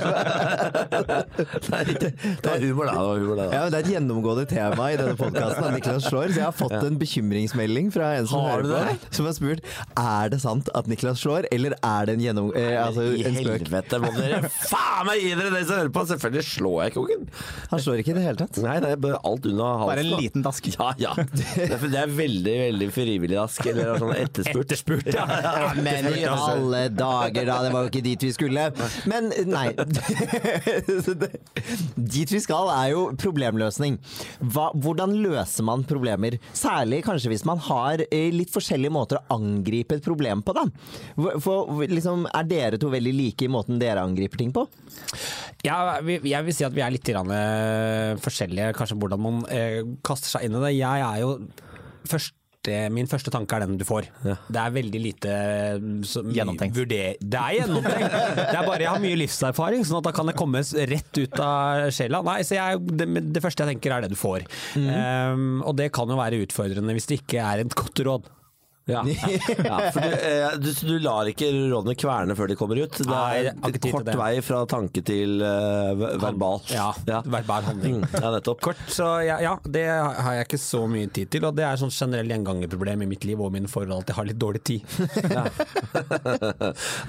Speaker 1: Nei, det det var humor, da. Det var humor, da.
Speaker 6: Ja, men det er et gjennomgående tema i denne podkasten. Niklas slår. Så jeg har fått en bekymringsmelding fra en som
Speaker 1: Har
Speaker 6: hører
Speaker 1: du
Speaker 6: på,
Speaker 1: det?
Speaker 6: som har spurt er det sant at Niklas slår, eller er det en, gjennom, eh, altså,
Speaker 1: I
Speaker 6: en spøk.
Speaker 1: helvete må dere faen meg gi dere, dere som hører på! Selvfølgelig slår jeg ikke ungen.
Speaker 6: Han slår ikke i det hele tatt.
Speaker 1: Nei, det er bare alt unna halsen.
Speaker 4: Bare en
Speaker 1: da.
Speaker 4: liten dask.
Speaker 1: Ja, ja. Det er, det er veldig, veldig frivillig dask. Eller sånn etterspurt. Etterspurt, ja. altså.
Speaker 6: Ja, altså. Men i alle dager, da! Det var jo ikke dit vi skulle. Men nei. Så det- Dit vi skal, er jo problemløsning. Hva, hvordan løser man problemer? Særlig kanskje hvis man har eh, litt forskjellige måter å angripe et problem på, da. Hvor- For liksom, er dere to veldig like i måten dere angriper ting på?
Speaker 5: Ja, vi- jeg vil si at vi er litt grann, eh, forskjellige, kanskje hvordan man eh, kaster seg inn i det. Jeg er jo første, Min første tanke er den du får. Det er veldig lite mm, så mye
Speaker 4: Gjennomtenkt.
Speaker 5: vurder- Det er gjennomtenkt! Det er bare jeg har mye livserfaring, sånn at da kan det komme s- rett ut av sjela. Nei, så jeg, det, men det første jeg tenker er det du får. Ehm, og det kan jo være utfordrende hvis det ikke er et godt råd.
Speaker 1: Ja. ja for du, eh, du, så du lar ikke rådene kverne før de kommer ut. Det
Speaker 5: Nei, jeg
Speaker 1: er
Speaker 5: har ikke tid til
Speaker 1: kort
Speaker 5: det.
Speaker 1: vei fra tanke til eh, ver- verbal.
Speaker 5: Ja, verbal handling.
Speaker 1: Mm, Ja, nettopp.
Speaker 5: Kort, så ja, ja, det har jeg ikke så mye tid til. Og det er sånn generell gjengangerproblem i mitt liv og mine forhold at jeg har litt dårlig tid.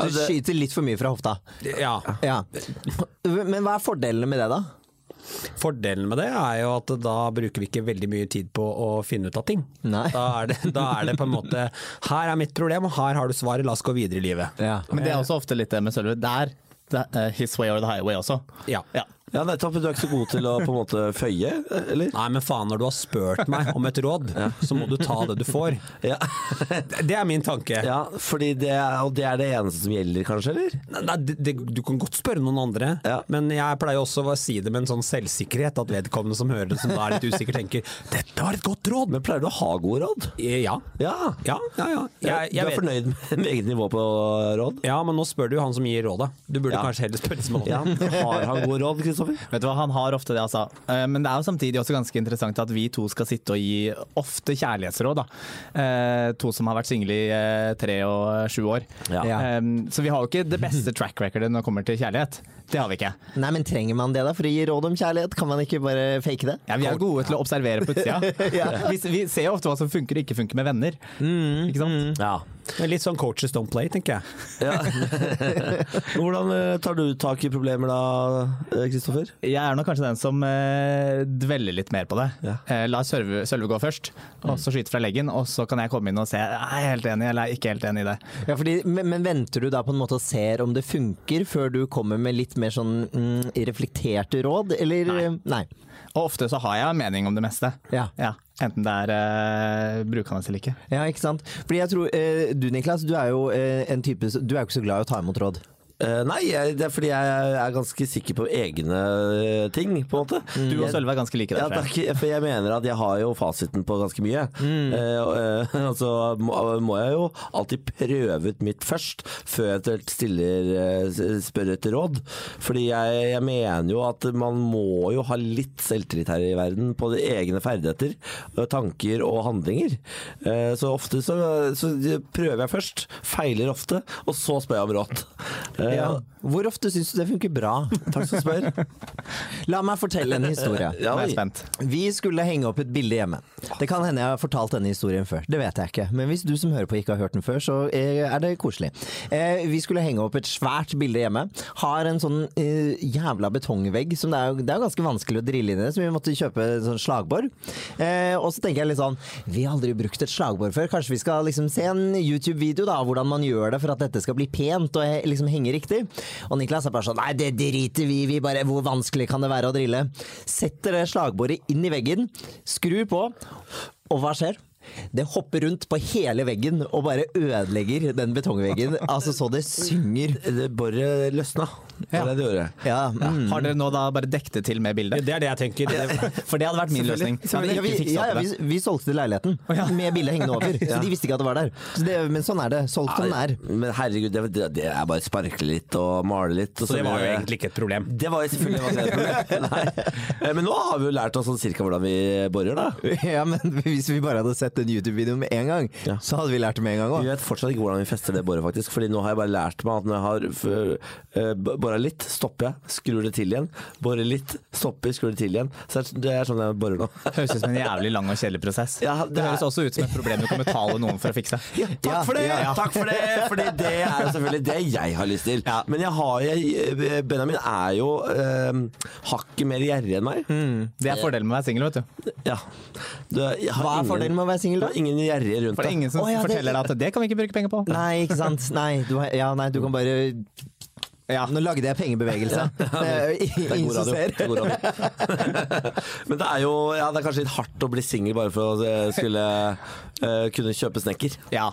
Speaker 6: Du skyter litt for mye fra hofta.
Speaker 5: Ja,
Speaker 6: Ja. Men hva er fordelene med det, da?
Speaker 5: Fordelen med det er jo at da bruker vi ikke veldig mye tid på å finne ut av ting.
Speaker 6: Nei.
Speaker 5: Da, er det, da er det på en måte Her er mitt problem, og her har du svaret, la oss gå videre i livet.
Speaker 6: Ja.
Speaker 4: Men det er også ofte litt det med Sølve. Der. det er, eh, His way or the highway også.
Speaker 5: Ja.
Speaker 4: Ja.
Speaker 1: Ja, nettopp. Du er ikke så god til å på en måte føye, eller?
Speaker 5: Nei, men faen, når du har spurt meg om et råd, så må du ta det du får.
Speaker 1: Ja.
Speaker 5: Det er min tanke.
Speaker 1: ja, fordi det er, og det er det eneste som gjelder, kanskje, eller?
Speaker 5: Nei, det, det, du kan godt spørre noen andre,
Speaker 1: Ja.
Speaker 5: men jeg pleier også å si det med en sånn selvsikkerhet, at vedkommende som hører det, som da er litt usikker, tenker 'dette var et godt råd'. Eh,
Speaker 1: Men pleier du å ha gode råd?
Speaker 5: Ja.
Speaker 1: Ja.
Speaker 5: Ja, ja, ja. Jeg, jeg
Speaker 1: du er
Speaker 5: vet.
Speaker 1: fornøyd med eget nivå på råd?
Speaker 5: ja, men nå spør du jo han som gir rådet. Du burde
Speaker 1: Ja.
Speaker 5: kanskje heller spørre som han.
Speaker 1: Ja, Har han gode råd, Kristoffer?
Speaker 4: Vet du hva, Han har ofte det, altså. Eh, Men det er jo samtidig også ganske interessant at vi to skal sitte og gi ofte kjærlighetsråd. da. Eh, To som har vært single i eh, tre og eh, sju år.
Speaker 1: Ja.
Speaker 4: Eh, Så vi har jo ikke det beste track recordet når det kommer til kjærlighet. Det har vi ikke.
Speaker 6: Nei, men trenger man det da for å gi råd om kjærlighet? Kan man ikke bare fake det?
Speaker 4: Ja, vi er gode til å observere på utsida. vi, vi ser jo ofte hva som funker og ikke funker med venner.
Speaker 1: Mm,
Speaker 4: Ikke sant?
Speaker 1: Ja.
Speaker 5: Men Litt sånn coaches don't play, tenker jeg.
Speaker 1: Hvordan eh, tar du tak i problemer da, eh, Kristoffer?
Speaker 4: Jeg er nok kanskje den som eh, dveller litt mer på det.
Speaker 1: Ja. Mm.
Speaker 4: Eh, la Sølve Sølve gå først, og så skyte fra leggen. Og så kan jeg komme inn og se er jeg helt enig eller er jeg ikke helt enig i det.
Speaker 6: Ja, fordi, men, men venter du da på en måte og ser om det funker, før du kommer med litt mer sånn mm, reflekterte råd, eller Nei.
Speaker 4: Og ofte så har jeg en mening om det meste.
Speaker 6: Ja.
Speaker 4: Enten det er eh, brukende eller ikke.
Speaker 6: Ja, ikke sant? Fordi jeg tror eh, Du Niklas, du er jo eh, en type s- Du er jo ikke så glad i å ta imot råd.
Speaker 1: Eh, nei, jeg, det er fordi jeg er ganske sikker på egne eh, ting, på en måte.
Speaker 4: Mm. Du og
Speaker 1: Jeg-
Speaker 4: Sølve er ganske like
Speaker 1: Ja,
Speaker 4: der. tror jeg.
Speaker 1: takk, for jeg mener at jeg har jo fasiten på ganske mye.
Speaker 4: Mm.
Speaker 1: Eh, og, eh, og så må, må jeg jo alltid prøve ut mitt først, før jeg eventuelt stiller eh, s- spør etter råd. Fordi jeg, jeg mener jo at man må jo ha litt selvtillit her i verden på de egne ferdigheter, eh, tanker og handlinger. Eh, så ofte så, så prøver jeg først, feiler ofte, og så spør jeg om råd. Eh,
Speaker 6: Hvor ofte syns du det funker bra?
Speaker 1: Takk skal du spørre.
Speaker 6: La meg fortelle en historie.
Speaker 1: Ja, oi.
Speaker 4: Nå er jeg spent.
Speaker 6: Vi skulle henge opp et bilde hjemme. Det kan hende jeg har fortalt denne historien før. Det vet jeg ikke. Men hvis du som hører på ikke har hørt den før, så eh, er det koselig. Eh, Vi skulle henge opp et svært bilde hjemme. Har en sånn eh, jævla betongvegg som det er, jo- det er jo ganske vanskelig å drille inn i, så vi måtte kjøpe en sånn slagbor. Eh, Og så tenker jeg litt sånn Vi har aldri brukt et slagbor før. Kanskje vi skal liksom se en YouTube-video da, av hvordan man gjør det for at dette skal bli pent og he- liksom henge riktig. Og Niklas er bare sånn Nei, det driter vi i. Vi bare Hvor vanskelig kan det være å drille? Setter det slagbordet inn i veggen, skrur på, og hva skjer? Det hopper rundt på hele veggen og bare ødelegger den betongveggen. Altså så det synger.
Speaker 1: Det Boret løsna. Det
Speaker 4: Ja.
Speaker 1: er det det gjorde.
Speaker 6: Ja, mm.
Speaker 4: Har dere nå da bare dekket det til med bildet?
Speaker 5: Det er det jeg tenker. Det,
Speaker 4: For det hadde vært min løsning.
Speaker 6: Ja, vi, ja, vi, ja, vi, vi solgte leiligheten med bildet hengende over, så de visste ikke at det var der. Så det, men sånn er det. Solgt som den er.
Speaker 1: Men herregud, det, det, det er bare sparkle litt og male litt. Og
Speaker 5: så det var jo
Speaker 1: blir
Speaker 5: egentlig ikke et problem.
Speaker 1: Det var jo selvfølgelig var ikke det problemet. Nei. Eh, Men nå har vi jo lært oss sånn cirka hvordan vi borer, da.
Speaker 6: Ja, men hvis vi bare hadde sett den YouTube-videoen med en gang,
Speaker 1: Ja.
Speaker 6: så hadde vi lært det med en gang
Speaker 1: Vi
Speaker 6: òg.
Speaker 1: vet fortsatt ikke hvordan vi fester det boret, faktisk. Fordi nå har jeg bare lært meg at når jeg har uh, bora litt, stopper jeg, skrur det til igjen. Borer litt, stopper, skrur det til igjen. Så det er- det er sånn jeg borer nå.
Speaker 4: Høres ut som en jævlig lang og kjedelig prosess.
Speaker 1: Ja, det
Speaker 4: det,
Speaker 1: er-
Speaker 4: høres også ut som et problem du kan betale noen for å fikse.
Speaker 1: Takk for det! Takk for det! Fordi det er jo selvfølgelig det jeg har lyst til. Men jeg har, jeg, Benjamin er jo eh, hakket mer gjerrig enn meg.
Speaker 4: Det er fordelen med å være singel, vet du.
Speaker 1: Ja. Du, jeg har
Speaker 6: Hva er
Speaker 1: ingen-
Speaker 6: fordelen med å være singel,
Speaker 1: Det
Speaker 6: da?
Speaker 1: er ingen gjerrige rundt
Speaker 4: For det er ingen som
Speaker 6: Å, ja, det-
Speaker 4: forteller deg at det kan vi ikke bruke penger på.
Speaker 6: Nei, ikke sant. Nei, du, har- ja, nei, du kan bare
Speaker 4: Ja.
Speaker 6: Nå lagde jeg pengebevegelse. Eh, Det er jo
Speaker 1: Det er
Speaker 6: ingen
Speaker 1: god
Speaker 6: som
Speaker 1: radio.
Speaker 6: ser.
Speaker 1: Det er god radio. Men det er jo ja, det er kanskje litt hardt å bli singel bare for å eh, skulle eh, kunne kjøpe snekker.
Speaker 4: Ja.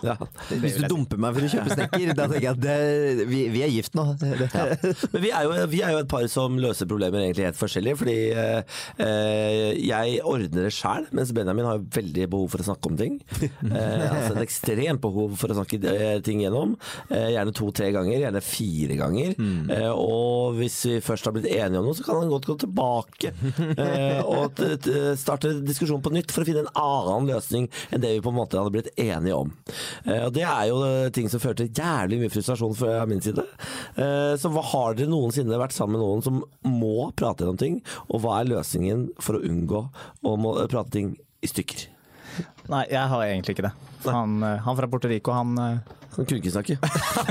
Speaker 6: Hvis du dumper meg for å kjøpe snekker, da tenker jeg at det, vi, vi er gift nå. Det,
Speaker 1: Men vi er, jo, vi er jo et par som løser problemer egentlig helt forskjellig. Fordi eh, eh, jeg ordner det sjæl, mens Benjamin har jo veldig behov for å snakke om ting. Eh, altså Et ekstremt behov for å snakke eh, ting gjennom. Eh, gjerne to-tre ganger, gjerne fire ganger. Eh, og hvis vi først har blitt enige om noe, så kan han godt gå tilbake eh, og t t starte diskusjonen på nytt for å finne en annen løsning enn det vi på en måte hadde blitt enige om. Eh, og Det er jo eh, ting som fører til jævlig mye frustrasjon fra min side. Eh, Så hva har dere noensinne vært sammen med noen som må prate gjennom ting, og hva er løsningen for å unngå å må eh, prate ting i stykker?
Speaker 4: Nei, jeg har egentlig ikke det. Han, eh, han fra Puerto Rico, han, eh,
Speaker 1: Han kunne ikke snakke.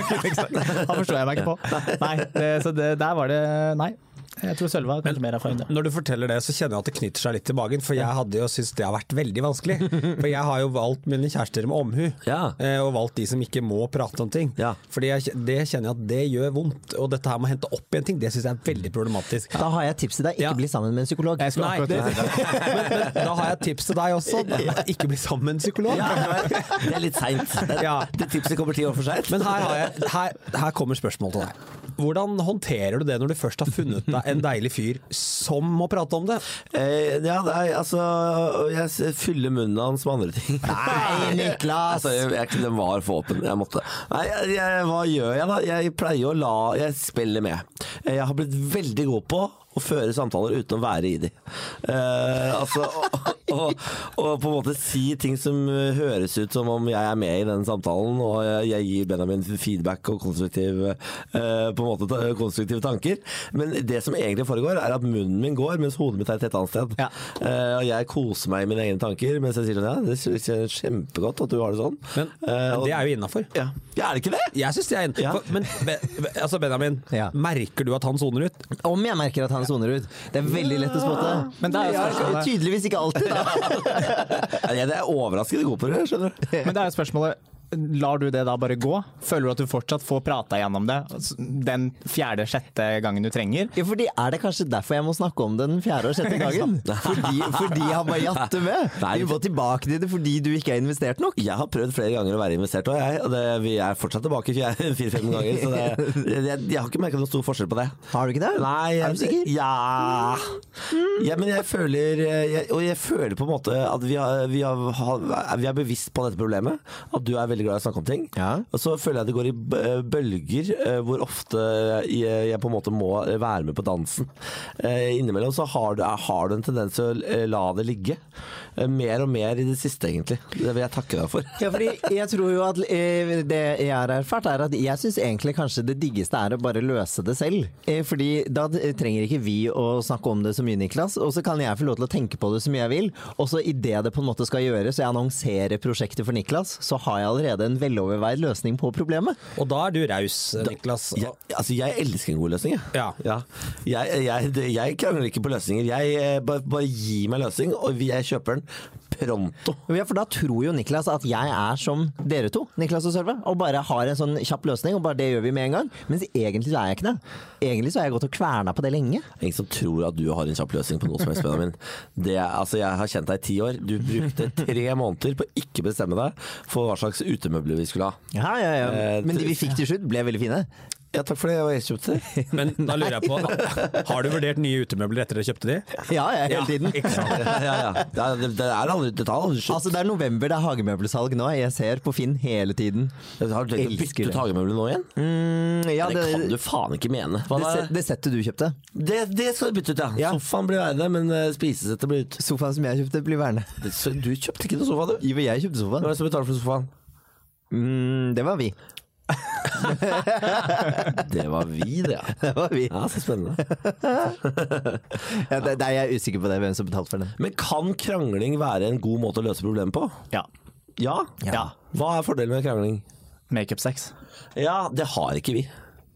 Speaker 4: han forstår jeg meg ikke på. Nei, det, så det, der var det Nei. Jeg tror Sølve har kanskje mer erfaring der.
Speaker 5: Når du forteller det, så kjenner jeg at det knytter seg litt i magen, for jeg hadde jo syntes det har vært veldig vanskelig. For jeg har jo valgt mine kjærester med omhu,
Speaker 1: Ja.
Speaker 5: eh, og valgt de som ikke må prate om ting.
Speaker 1: Ja.
Speaker 5: Fordi jeg, det kjenner jeg at det gjør vondt, og dette her med å hente opp igjen ting, det syns jeg er veldig problematisk.
Speaker 6: Da har jeg et tips til deg. Ikke
Speaker 5: Ja.
Speaker 6: bli sammen med en psykolog.
Speaker 4: Jeg skulle
Speaker 5: Nei,
Speaker 4: akkurat
Speaker 5: det,
Speaker 4: til å si det.
Speaker 5: men, men da har jeg et tips til deg også. Ikke bli sammen med en psykolog.
Speaker 1: Ja, det er litt seint. Det,
Speaker 5: Ja.
Speaker 1: det tipset kommer ti år for seint.
Speaker 5: Men her, har jeg, her, her kommer spørsmålet til deg. Hvordan håndterer du det når du først har funnet deg en deilig fyr som må prate om det?
Speaker 1: Eh, ja, nei, altså Jeg s- fyller munnen hans med andre ting.
Speaker 6: Nei, Niklas!
Speaker 1: Altså, jeg, jeg, den var for åpen. Jeg måtte. Nei, jeg, jeg, hva gjør jeg, da? Jeg pleier å la Jeg spiller med. Eh, Jeg har blitt veldig god på å føre samtaler uten å være i de. Eh, altså, og, og, og på en måte si ting som eh, høres ut som om jeg er med i den samtalen, og jeg, jeg gir Benjamin feedback og konstruktiv, eh, på en måte, ta- konstruktive tanker. Men det som egentlig foregår, er at munnen min går, mens hodet mitt er et helt annet sted.
Speaker 4: Ja.
Speaker 1: Eh, og jeg koser meg i mine egne tanker mens jeg sier sånn, ja, det synes jeg er kjempegodt at du har det sånn.
Speaker 5: Men,
Speaker 1: Eh,
Speaker 5: men
Speaker 1: og-
Speaker 5: det er jo innafor.
Speaker 1: ja. ja, er det ikke det?
Speaker 5: Jeg syns det er
Speaker 1: Ja.
Speaker 5: innafor. Men Be- Be- altså Benjamin,
Speaker 6: Ja.
Speaker 5: merker du at han soner ut?
Speaker 6: Om jeg merker at han soner ut. Det er veldig lett å spotte.
Speaker 4: Men det er jo
Speaker 6: Ja,
Speaker 4: spørsmålet.
Speaker 6: Tydeligvis ikke alltid, da.
Speaker 1: Ja, jeg er overraskende god på det, skjønner du.
Speaker 4: Men det er jo spørsmålet Lar du det da bare gå? Føler du at du fortsatt får prata gjennom det den fjerde-sjette gangen du trenger?
Speaker 6: Ja, fordi Er det kanskje derfor jeg må snakke om det den fjerde og sjette gangen? Fordi, fordi han bare jatter med?
Speaker 1: Nei.
Speaker 6: Vi må tilbake til det fordi du ikke er investert nok?
Speaker 1: Jeg har prøvd flere ganger å være investert, og, jeg, og det, vi er fortsatt tilbake fire- fire-fem ganger. Så det, jeg, jeg har ikke merka noen stor forskjell på det.
Speaker 6: Har du ikke det?
Speaker 1: Nei,
Speaker 6: Er du sikker? Mm.
Speaker 1: Ja. ja men jeg føler eh, jeg, Og jeg føler på en måte at vi, har, vi, har, vi er bevisst på dette problemet. At du er veldig glad i å snakke om ting.
Speaker 6: Ja.
Speaker 1: Og så føler jeg det går i b- bølger, eh, hvor ofte jeg jeg på en måte må være med på dansen. Eh, Innimellom så har du, har du en tendens til å eh, la det ligge. Eh, Mer og mer i det siste, egentlig. Det vil jeg takke deg for.
Speaker 6: Ja, fordi jeg tror jo at eh, det jeg har erfart er at jeg syns egentlig kanskje det diggeste er å bare løse det selv. Eh, fordi da d- trenger ikke vi å snakke om det så mye, Niklas. Og så kan jeg få lov til å tenke på det så mye jeg vil. Og så idet det på en måte skal gjøres, og jeg annonserer prosjektet for Niklas, så har jeg allerede en veloverveid løsning på problemet.
Speaker 5: Og da er du raus, eh, Niklas.
Speaker 1: Jeg, altså, jeg elsker en god løsning, jeg.
Speaker 5: Ja.
Speaker 1: Jeg, jeg, det- jeg krangler ikke på løsninger. Jeg eh, bare, bare gi meg løsning, og vi- jeg kjøper den pronto.
Speaker 6: Ja, for da tror jo Niklas at jeg er som dere to, Niklas og Sølve, og bare har en sånn kjapp løsning, og bare det gjør vi med en gang. Mens egentlig så er jeg ikke det. Egentlig så har jeg gått og kverna på det lenge.
Speaker 1: Det er Ingen som tror at du har en kjapp løsning på noe som helst, Benjamin. Det er, altså, jeg har kjent deg i ti år. Du brukte tre måneder på å ikke bestemme deg for hva slags utemøbler vi skulle ha.
Speaker 6: Ja, ja, ja.
Speaker 1: Eh,
Speaker 6: Men
Speaker 1: det-
Speaker 6: de vi fikk til slutt, ble veldig fine.
Speaker 1: Ja, takk for det. Jeg kjøpte det.
Speaker 5: Men da lurer jeg på, har du vurdert nye utemøbler etter at du kjøpte de?
Speaker 6: Ja, ja, hele tiden.
Speaker 5: ikke sant?
Speaker 1: Ja, ja, ja. Ja, Det, det er aldri det tar aldri slutt.
Speaker 6: Altså, det er november, det er hagemøbelsalg nå. Jeg ser på Finn hele tiden.
Speaker 1: Har du tenkt å
Speaker 6: elsker
Speaker 1: bytte
Speaker 6: det.
Speaker 1: ut hagemøbler nå igjen?
Speaker 6: Mm, ja,
Speaker 1: det, kan
Speaker 6: det,
Speaker 1: du faen ikke mene. Hva
Speaker 6: det,
Speaker 1: da?
Speaker 6: set- det settet du kjøpte.
Speaker 1: Det, det skal du bytte ut, ja.
Speaker 6: Ja.
Speaker 1: Sofaen blir værende, men eh, spisesettet blir ute.
Speaker 6: Sofaen som jeg kjøpte, blir værende.
Speaker 1: Så du kjøpte ikke noe sofa, du?
Speaker 6: Jo, men jeg kjøpte
Speaker 1: Hvem
Speaker 6: sofaen.
Speaker 1: er det som betaler for sofaen?
Speaker 6: Mm, det var vi.
Speaker 1: Det var vi, det. ja.
Speaker 6: Det var vi.
Speaker 1: Ja, så spennende.
Speaker 6: Ja, det, det er jeg usikker på det, hvem som betalte for den.
Speaker 1: Men kan krangling være en god måte å løse problemet på?
Speaker 4: Ja.
Speaker 1: Ja.
Speaker 4: Ja.
Speaker 1: Hva er fordelen med krangling?
Speaker 4: Makeup-sex.
Speaker 1: Ja, det har ikke vi.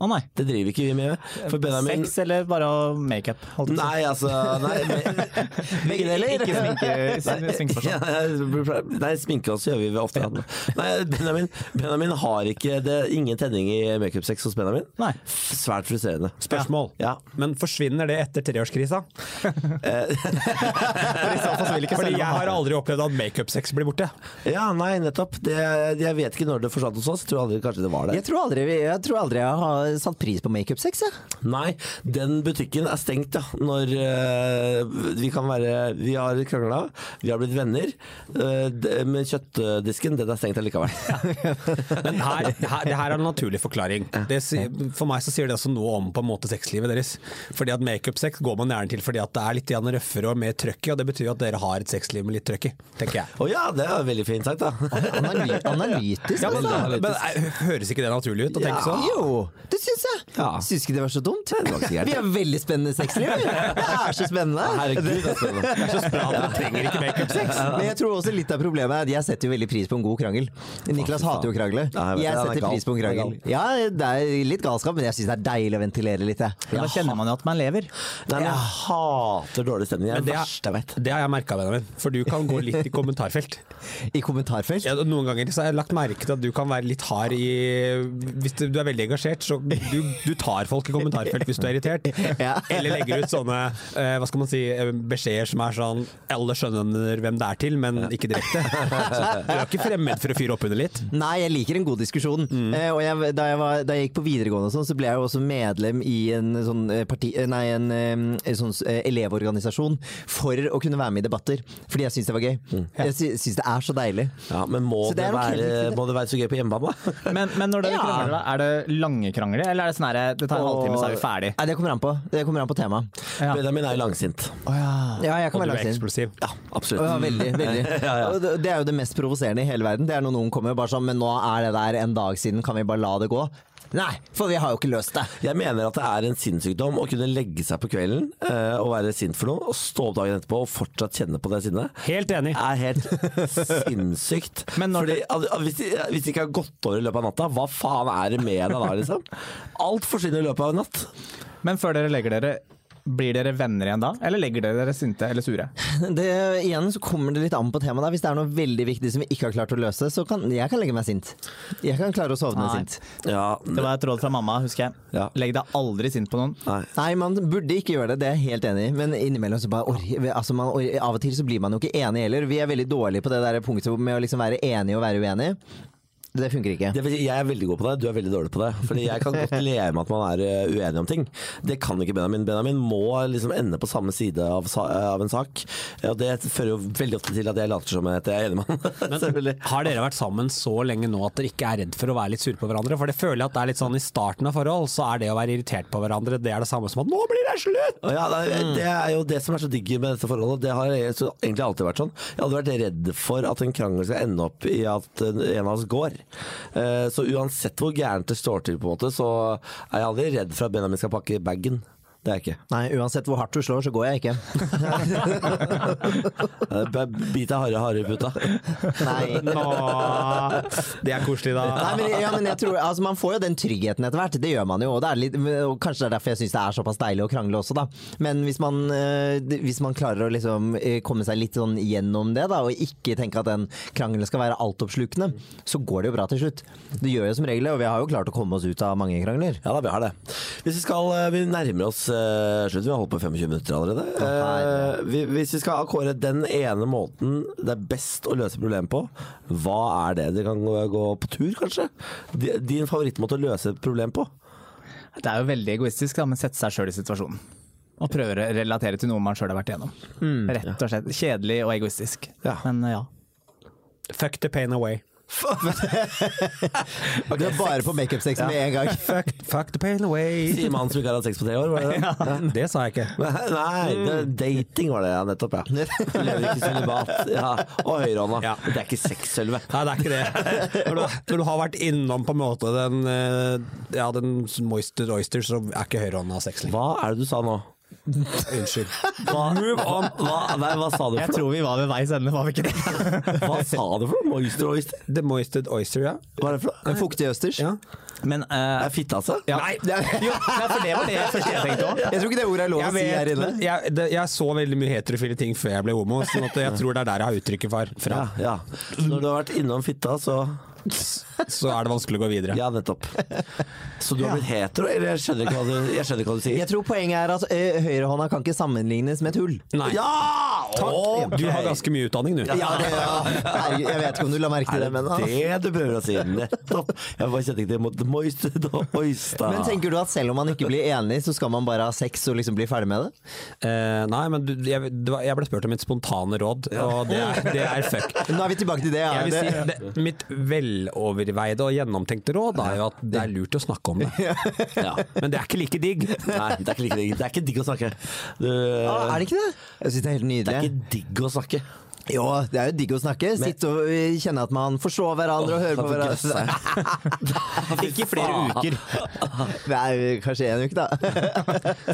Speaker 4: Å nei.
Speaker 1: Det driver ikke vi med. For Benjamin
Speaker 4: Sex eller bare å makeup? holdt jeg på å si.
Speaker 1: Nei, altså Nei, men,
Speaker 6: Begge deler.
Speaker 4: Ikke sminke, sminke
Speaker 1: ja, nei sminke oss gjør vi ofte. Nei, Benjamin, Benjamin har ikke Det er ingen tenning i makeup-sex hos Benjamin.
Speaker 4: Nei.
Speaker 1: Svært frustrerende.
Speaker 5: Spørsmål.
Speaker 1: Ja.
Speaker 5: Men forsvinner det etter treårskrisa? Eh. Fordi jeg har aldri opplevd at makeup-sex blir borte.
Speaker 1: Ja, nei, nettopp. Det, jeg vet ikke når det forsvant hos oss. Tror aldri kanskje det var
Speaker 6: Jeg
Speaker 1: der.
Speaker 6: tror aldri, jeg, tror aldri jeg har satt pris på makeup-sex. jeg.
Speaker 1: Nei, den butikken er stengt, ja. Når eh, vi kan være Vi har krangla, vi har blitt venner. eh, d- men kjøttdisken, den er stengt allikevel.
Speaker 5: Men her, her, det her er en naturlig forklaring. Det, si- for meg så sier det også noe om på en måte sexlivet deres. Fordi at Makeup-sex går man gjerne til fordi at det er litt grann røffere og mer trøkk i, og det betyr jo at dere har et sexliv med litt trøkk i, tenker jeg.
Speaker 1: Å ja, det er veldig fint sagt, da.
Speaker 6: Analy analytisk,
Speaker 5: Ja, men,
Speaker 6: altså.
Speaker 5: men, eh, Høres ikke det naturlig ut å tenke sånn?
Speaker 6: Jo, det syns jeg!
Speaker 1: Ja.
Speaker 6: Syns ikke det var så dumt.
Speaker 1: var ikke så gærent.
Speaker 6: Vi har veldig spennende sexliv! vi. Det er så spennende!
Speaker 1: Herregud, altså. det er spennende. Det er så bra at dere trenger ikke
Speaker 6: Sex. Men jeg tror også litt av problemet er at jeg setter jo veldig pris på en god krangel. Niklas hater jo å krangle.
Speaker 1: Nei, jeg vet det,
Speaker 6: Jeg
Speaker 1: han er
Speaker 6: setter
Speaker 1: gal.
Speaker 6: pris på en krangel.
Speaker 1: Han
Speaker 6: Ja, det er litt galskap, men jeg syns det er deilig å ventilere litt, jeg.
Speaker 4: Da kjenner man jo at man lever.
Speaker 1: Nei, men jeg hater dårlig stemning. Det er
Speaker 5: Men
Speaker 1: det
Speaker 5: det er-
Speaker 1: verste jeg vet.
Speaker 5: Det har jeg merka, Benjamin. For du kan gå litt i kommentarfelt.
Speaker 6: I kommentarfelt.
Speaker 5: Ja, og noen ganger så har jeg lagt merke til at du kan være litt hard i Hvis du er veldig engasjert, så du, du tar folk i kommentarfelt hvis du er irritert.
Speaker 6: Ja.
Speaker 5: Eller legger ut sånne eh, hva skal man si, eh, beskjeder som er sånn Alle skjønner hvem det er til, men ikke direkte. Så Du er ikke fremmed for å fyre opp under litt.
Speaker 6: Nei, jeg liker en god diskusjon. Eh, og jeg, da, jeg var, da jeg gikk på videregående, og sånn, så ble jeg jo også medlem i en sånn, eh, parti, eh, nei, en, eh, en sånn eh, elevorganisasjon for å kunne være med i debatter. Fordi jeg syns det var gøy. Jeg sy- syns det er så deilig.
Speaker 1: Ja, men må
Speaker 6: Så det
Speaker 1: det,
Speaker 6: er nok
Speaker 1: være,
Speaker 6: heller ikke det.
Speaker 1: må det være så gøy på hjemmebane? da?
Speaker 4: Men, men når dere
Speaker 6: Ja.
Speaker 4: krangler, da, er det lange krangler, eller er det sånn her det tar en halvtime, så er vi ferdig?
Speaker 6: Nei, det kommer an på, det kommer an på temaet.
Speaker 4: Ja.
Speaker 1: Benjamin er jo langsint.
Speaker 6: Ja, jeg
Speaker 5: Og du
Speaker 6: kan være
Speaker 5: er
Speaker 6: langt inn.
Speaker 5: eksplosiv.
Speaker 1: Ja, absolutt.
Speaker 6: Ja, veldig. veldig. Og det- Det er jo det mest provoserende i hele verden. Det er når noen kommer bare sånn Men nå er det der en dag siden, kan vi bare la det gå? Nei, for vi har jo ikke løst det!
Speaker 1: Jeg mener at det er en sinnssykdom å kunne legge seg på kvelden eh, og være sint for noe, og stå opp dagen etterpå og fortsatt kjenne på det sinnet.
Speaker 5: Helt enig.
Speaker 1: er helt sinnssykt.
Speaker 4: Men når
Speaker 1: Fordi, al- al- hvis, de, hvis de ikke har gått over i løpet av natta, hva faen er det med deg da, liksom? Alt forsvinner i løpet av en natt.
Speaker 4: Men før dere legger dere, blir dere venner igjen da? Eller legger dere dere sinte eller sure?
Speaker 6: det, igjen så kommer det litt an på temaet. der. Hvis det er noe veldig viktig som vi ikke har klart å løse, så kan jeg kan legge meg sint. Jeg kan klare å sovne
Speaker 4: Nei.
Speaker 6: sint.
Speaker 1: Ja,
Speaker 4: Det var et råd fra mamma, husker jeg.
Speaker 1: Ja.
Speaker 4: Legg deg aldri sint på noen.
Speaker 1: nei.
Speaker 6: Nei, man burde ikke gjøre det, det er jeg helt enig i. Men innimellom så bare orker altså man, or- Av og til så blir man jo ikke enig heller. Vi er veldig dårlige på det der punktet med å liksom være enig og være uenig. Det funker ikke.
Speaker 1: Det vil si, jeg er veldig god på det, du er veldig dårlig på det. Fordi jeg kan godt leve med at man er eh, uenig om ting. Det kan ikke Benjamin. Benjamin må liksom ende på samme side av, sa- av en sak. Og det fører jo veldig ofte til at jeg later som at jeg er enig med han. Selvfølgelig.
Speaker 5: Har dere vært sammen så lenge nå at dere ikke er redd for å være litt sure på hverandre? For det føler jeg at det er litt sånn i starten av forhold, så er det å være irritert på hverandre det er det samme som at 'nå blir det slutt'!
Speaker 1: Og Ja, det, er- det er jo det som er så digg med dette forholdet. Det har jeg- så egentlig alltid vært sånn. Jeg hadde vært redd for at en krangel skal ende opp i at en en av oss går. Eh, Så uansett hvor gærent det står til, på en måte, så er jeg aldri redd for at Benjamin skal pakke bagen. Det er jeg ikke.
Speaker 6: Nei, uansett hvor hardt du slår, så går jeg ikke.
Speaker 1: Eh, b- Bit av harde, harde i puta.
Speaker 6: Nei.
Speaker 5: det er koselig,
Speaker 6: Nei, men, ja, men jeg tror, altså, man får jo den tryggheten etter hvert, det gjør man jo. Og, det er litt, og kanskje det er derfor jeg syns det er såpass deilig å krangle også, da. Men hvis man, eh, d- hvis man klarer å liksom eh, komme seg litt sånn gjennom det, da, og ikke tenke at den krangelen skal være altoppslukende, så går det jo bra til slutt. Det gjør jo som regel det, og vi har jo klart å komme oss ut av mange krangler.
Speaker 1: Ja da, vi har det. Hvis vi skal eh, Vi nærmer oss eh, slutt. Vi har holdt på i 25 minutter allerede.
Speaker 6: herre.
Speaker 1: Eh, vi- Hvis vi skal kåre den ene måten det er best å løse problemet på, hva er det? Det kan gå gå på tur, kanskje? Di- Din favorittmåte å løse problem på?
Speaker 4: Det er jo veldig egoistisk, da, men sette seg sjøl i situasjonen. Og prøve å relatere til noe man sjøl har vært igjennom. Rett og slett. Kjedelig og egoistisk.
Speaker 1: Ja.
Speaker 4: Men Hmm, eh, ja.
Speaker 5: Fuck the pain away.
Speaker 6: Du er bare på makeup-sex med en gang.
Speaker 5: Fuck, fuck the pain away.
Speaker 1: Sier mannen som ikke har hatt sex på tre år, var det det?
Speaker 5: Det sa jeg ikke.
Speaker 1: Nei, det- dating var det, ja, nettopp. ja Lever ikke sølibat. Ja. Og høyrehånda.
Speaker 5: Ja.
Speaker 1: Det er ikke sex, Sølve.
Speaker 5: Nei, det er ikke det. Når du, når du har vært innom på en måte den, eh, ja, den moisted oyster, så er ikke høyrehånda sex lenger.
Speaker 1: Hva er det du sa nå?
Speaker 5: Unnskyld.
Speaker 1: Hva, Hva, nei, hva sa du for noe?
Speaker 4: tror vi var ved veis ende, var vi ikke det?
Speaker 1: Hva sa du for noe? Moister oyster?
Speaker 5: The moisted oyster, ja.
Speaker 1: Hva er det for noe?
Speaker 6: En fuktig østers.
Speaker 5: ja.
Speaker 4: Men
Speaker 1: Det
Speaker 4: eh,
Speaker 1: er fitte, altså?
Speaker 4: ja.
Speaker 5: Nei,
Speaker 4: Jo, nei, for det var det første jeg tenkte òg.
Speaker 6: Jeg tror ikke det ordet er lov å
Speaker 5: Jeg,
Speaker 6: si her
Speaker 5: vet,
Speaker 6: inne.
Speaker 5: men jeg, det, jeg så veldig mye heterofile ting før jeg ble homo, så jeg tror det er der jeg har uttrykket for, fra.
Speaker 1: Ja, ja. Så når du har vært innom fitta, så
Speaker 5: Så er det vanskelig å gå videre.
Speaker 1: Ja, nettopp. Så du har blitt hetero? Eller jeg skjønner ikke hva du, jeg skjønner ikke hva du sier.
Speaker 6: Jeg tror poenget er at eh, høyrehånda kan ikke sammenlignes med et hull.
Speaker 5: Nei.
Speaker 1: Ja!
Speaker 5: Takk.
Speaker 1: ok.
Speaker 5: Du har ganske mye utdanning, du.
Speaker 6: Ja, det, ja. Herregud, Jeg vet ikke om du la merke til
Speaker 1: Er
Speaker 6: det, men
Speaker 1: det det du prøver å si? Nettopp. Jeg bare kjente ikke det mot moist og oista.
Speaker 6: Men tenker du at selv om man ikke blir enig, så skal man bare ha sex og liksom bli ferdig med det?
Speaker 5: Eh, nei, men du, jeg, det var- jeg ble spurt om mitt spontane råd, og det er, det er fuck.
Speaker 6: Nå er vi tilbake til det. Ja.
Speaker 5: Jeg vil
Speaker 6: det
Speaker 5: si, det, mitt veloverveide og gjennomtenkte råd er jo at det er lurt å snakke om det.
Speaker 1: Ja.
Speaker 5: Men det er ikke like digg.
Speaker 1: Nei, det er ikke like digg. Det er ikke digg å snakke. Du,
Speaker 6: ah, er det ikke det? Jeg syns det er helt
Speaker 1: det er
Speaker 6: nydelig.
Speaker 1: ikke digg å snakke.
Speaker 6: Jo, det er jo digg å snakke. Sitte og eh, kjenne at man forstår hverandre og hører på hverandre.
Speaker 1: Ikke
Speaker 4: Flere uker.
Speaker 6: Nei, kanskje en uke, da.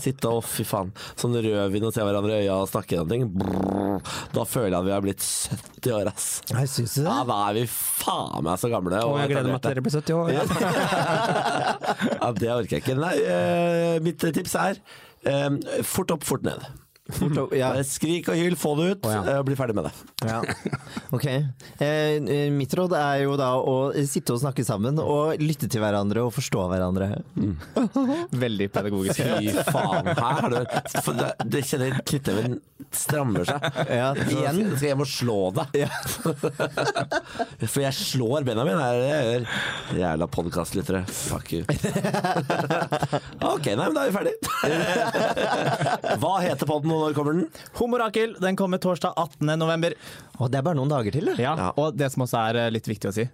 Speaker 1: Sitte og fy faen, sånn rødvin og se hverandre i øya og snakke om ting. Brrr. Da føler jeg at vi har blitt 70 år, ass.
Speaker 6: Jeg syns det.
Speaker 1: Ja, da er vi faen meg så gamle.
Speaker 5: Og jeg gleder meg til dere blir 70 år.
Speaker 1: Ja, det orker jeg ikke. Nei, eh, mitt tips er eh, fort opp, fort ned.
Speaker 6: Fort opp, ja.
Speaker 1: Bare Skrik og hyl, få det ut, eh, bli ferdig med det.
Speaker 6: Ja. Ok. Eh, eh, mitt råd er jo da å sitte og snakke sammen, og lytte til hverandre og forstå hverandre.
Speaker 4: Veldig pedagogisk.
Speaker 1: Fy faen, her har du for det, det kjenner jeg Klitteven strammer seg.
Speaker 6: Ja,
Speaker 1: Så
Speaker 6: igjen.
Speaker 1: Skal jeg hjem og slå deg? For jeg slår Benjamin, er det jeg gjør. Jævla podkastlyttere. Fuck you. ok, nei, men da er vi ferdig. Hva heter podden, og når kommer den?
Speaker 4: Homorakel den kommer torsdag 18. november.
Speaker 6: Og det er bare noen dager til, det.
Speaker 4: Ja, Og det som også er eh, litt viktig å si,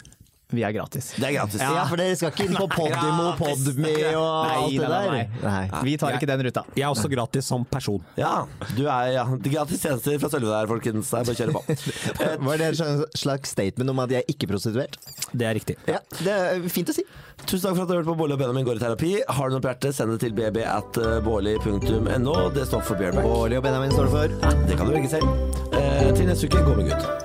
Speaker 4: vi er gratis.
Speaker 1: Det er gratis.
Speaker 6: Ja, for dere skal ikke inn på Podimo, Podme og alt det der?
Speaker 4: Vi tar ikke den ruta.
Speaker 5: Jeg er også gratis som person.
Speaker 1: Ja, du er ja. Det er gratis tjenester fra Sølve der, folkens. Det er bare å kjøre på. Eh,
Speaker 6: Var det en slags statement om at jeg er ikke prostituert?
Speaker 5: Det er riktig.
Speaker 6: Ja, det er fint å si.
Speaker 1: Tusen takk for at du hørte på Bårli og Benjamin går i terapi. Har du noe på hjertet, send det til bb at eh, bårli.no. Det står for Bjørnberg.
Speaker 6: Årlig og Benjamin står det for.
Speaker 1: Det kan du velge selv. Eh, til neste uke, gå med Gud.